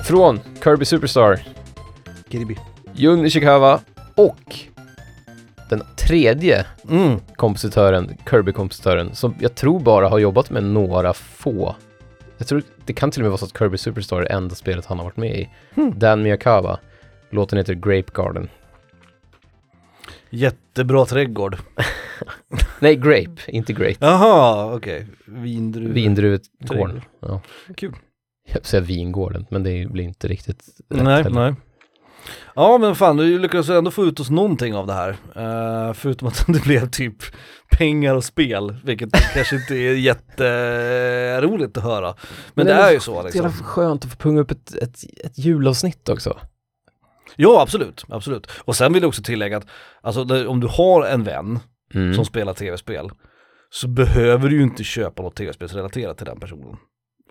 B: Från Kirby Superstar,
A: Kirby.
B: Jun Ishikawa och den tredje
A: Mm.
B: kompositören, Kirby-kompositören, som jag tror bara har jobbat med några få. Jag tror det kan till och med vara så att Kirby Superstar är det enda spelet han har varit med i. Dan Miyakawa. Låten heter Grape Garden.
A: Jättebra trädgård.
B: Nej, Grape, inte Grape.
A: Jaha, okej. Vindruvor.
B: Vindruvetgården. Ja.
A: Kul.
B: Jag vill säga vingården, men det blir inte riktigt rätt
A: Nej,
B: heller.
A: nej. Ja men fan, du lyckades ändå få ut oss någonting av det här. Eh, förutom att [LAUGHS] det blev typ pengar och spel, vilket [LAUGHS] kanske inte är jätteroligt att höra. Men det
B: Nej, men
A: är ju så
B: Det är
A: liksom.
B: jävla skönt att få punga upp ett, ett, ett julavsnitt också.
A: Ja absolut, absolut. Och sen vill jag också tillägga att alltså, det- om du har en vän
B: Mm.
A: som spelar tv-spel så behöver du ju inte köpa något tv-spelsrelaterat till den personen.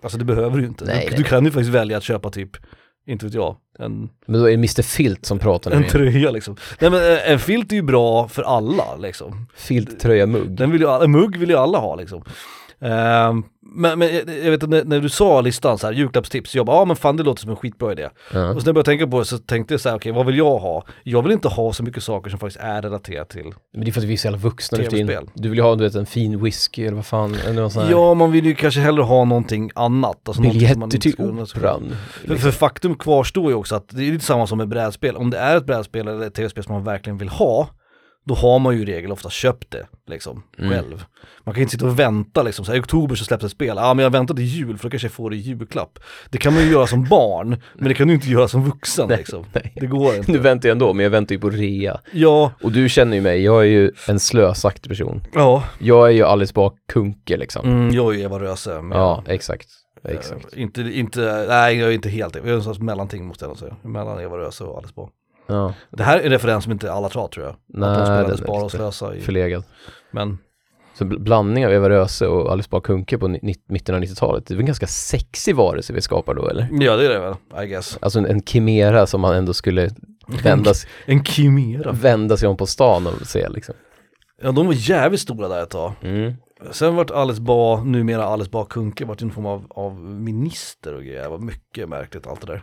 A: Alltså det behöver du ju inte.
B: Nej,
A: du,
B: nej.
A: du kan ju faktiskt välja att köpa typ, inte vet jag, en
B: Men då är det Mr. Filt som pratar nu
A: En
B: igen.
A: tröja liksom. Nej men eh, en filt är ju bra för alla liksom.
B: Filt, tröja, mugg.
A: Den vill ju alla, en mugg vill ju alla ha liksom. Ehm, men, men jag jag vet att när, när du sa listan så här, julklappstips, jag bara, ja ah, men fan det låter som en skitbra idé.
B: Ja.
A: Och sen när jag började tänka på det så tänkte jag så här, okej vad vill jag ha? Jag vill inte ha så mycket saker som faktiskt är relaterat till.
B: Men det är för att vi är så jävla vuxna nu för tiden.
A: TV-spel.
B: Du vill ju ha du vet, en fin whisky eller vad fan, eller någon sån här
A: Ja, man vill ju kanske hellre ha någonting annat. Alltså någonting som man
B: biljetter
A: inte
B: till
A: ska unna sig.
B: operan.
A: För,
B: liksom.
A: för faktum kvarstår ju också att det är lite samma som med brädspel. Om det är ett brädspel eller ett tv-spel som man verkligen vill ha, då har man ju i regel ofta köpt det liksom,
B: Mm.
A: själv. Man kan ju inte sitta och vänta liksom, så här, i oktober så släpps ett spel, ja ah, men jag väntar till jul för då kanske jag får det i julklapp. Det kan man ju göra som barn, men det kan du inte göra som vuxen liksom.
B: nej.
A: Det går
B: [LAUGHS]
A: inte.
B: Nu väntar jag ändå, men jag väntar ju på rea.
A: Ja,
B: Och du känner ju mig, jag är ju en slösaktig person.
A: ja,
B: Jag är ju Alice Bah Kuhnke liksom.
A: mm, jag är ju Eva Röse. men-
B: Ja, exakt. Exakt.
A: Eh, inte, inte, nej jag är inte helt, jag är en sorts mellanting måste jag nog säga, mellan Eva Röse och Alice Bah.
B: Ja,
A: Det här är en referens som inte alla tror tror jag.
B: Nej,
A: att de
B: den är
A: spelade Spara och
B: lite
A: Slösa i,
B: förlegad.
A: men
B: Så bl- blandning av Eva Röse och Alice Bah Kuhnke på ni- nitt- mitten av 90-talet, det är väl en ganska sexig varelse vi skapar då eller?
A: ja det är det väl, I guess.
B: Alltså en, en kimera som man
A: [LAUGHS]
B: ändå skulle vända, s-
A: En kimera.
B: vända sig om på stan och se liksom.
A: Ja de var jävligt stora där ett tag. Sen vart Alice Bah, numera Alice Bah Kuhnke, vart ju någon form av, av minister och grejer. Det var mycket märkligt allt det där.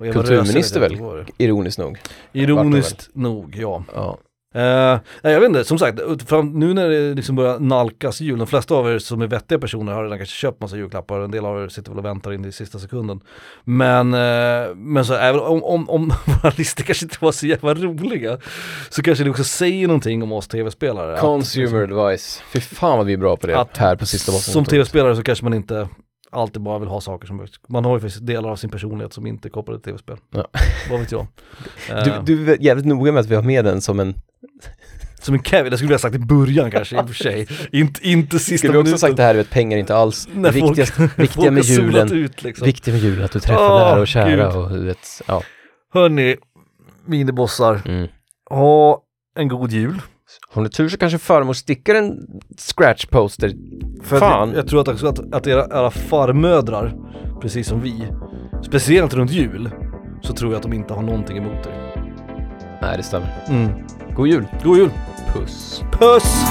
A: Och Eva
B: Kulturminister
A: Röse vet jag inte
B: väl?
A: vad det var.
B: Ironiskt nog.
A: Ironiskt nog, ja.
B: Ja.
A: Eh, nej, jag vet inte, som sagt, ut- fram, nu när det liksom börjar nalkas jul, de flesta av er som är vettiga personer har redan kanske köpt massa julklappar, en del av er sitter väl och väntar in i sista sekunden. Men, eh, men så även om, om, om [LAUGHS] våra listor kanske inte var så jävla roliga, så kanske det också säger någonting om oss tv-spelare. Att-
B: Consumer advice. Fy fan vad vi är bra på det
A: Att-
B: här på sista bossen.
A: Som tv-spelare så kanske man inte alltid bara vill ha saker som, man har ju faktiskt delar av sin personlighet som inte är kopplade till tv-spel.
B: Ja.
A: Vad vet jag.
B: Du,
A: Eh,
B: du är jävligt noga med att vi har med den som en...
A: Som en Kevin, det skulle jag ha sagt i början kanske i och för sig. Inte, inte sista
B: Skulle vi också
A: minuten.
B: sagt det här, du vet pengar är inte alls
A: När
B: det
A: folk-
B: viktigaste,
A: Folk
B: viktiga
A: har
B: med
A: solat
B: julen.
A: Ut, liksom.
B: Viktiga med julen, att du träffar
A: Åh,
B: nära och kära
A: gud.
B: och du vet, ja.
A: Hörni, minibossar,
B: Mm.
A: ha en god jul.
B: Har ni tur så kanske farmor stickar en scratchposter.
A: För
B: Fan.
A: Att, jag tror att, också att, att era, era farmödrar, precis som vi, speciellt runt jul, så tror jag att de inte har någonting emot er.
B: Nej, det stämmer.
A: Mm.
B: God jul.
A: God jul!
B: Puss.
A: Puss!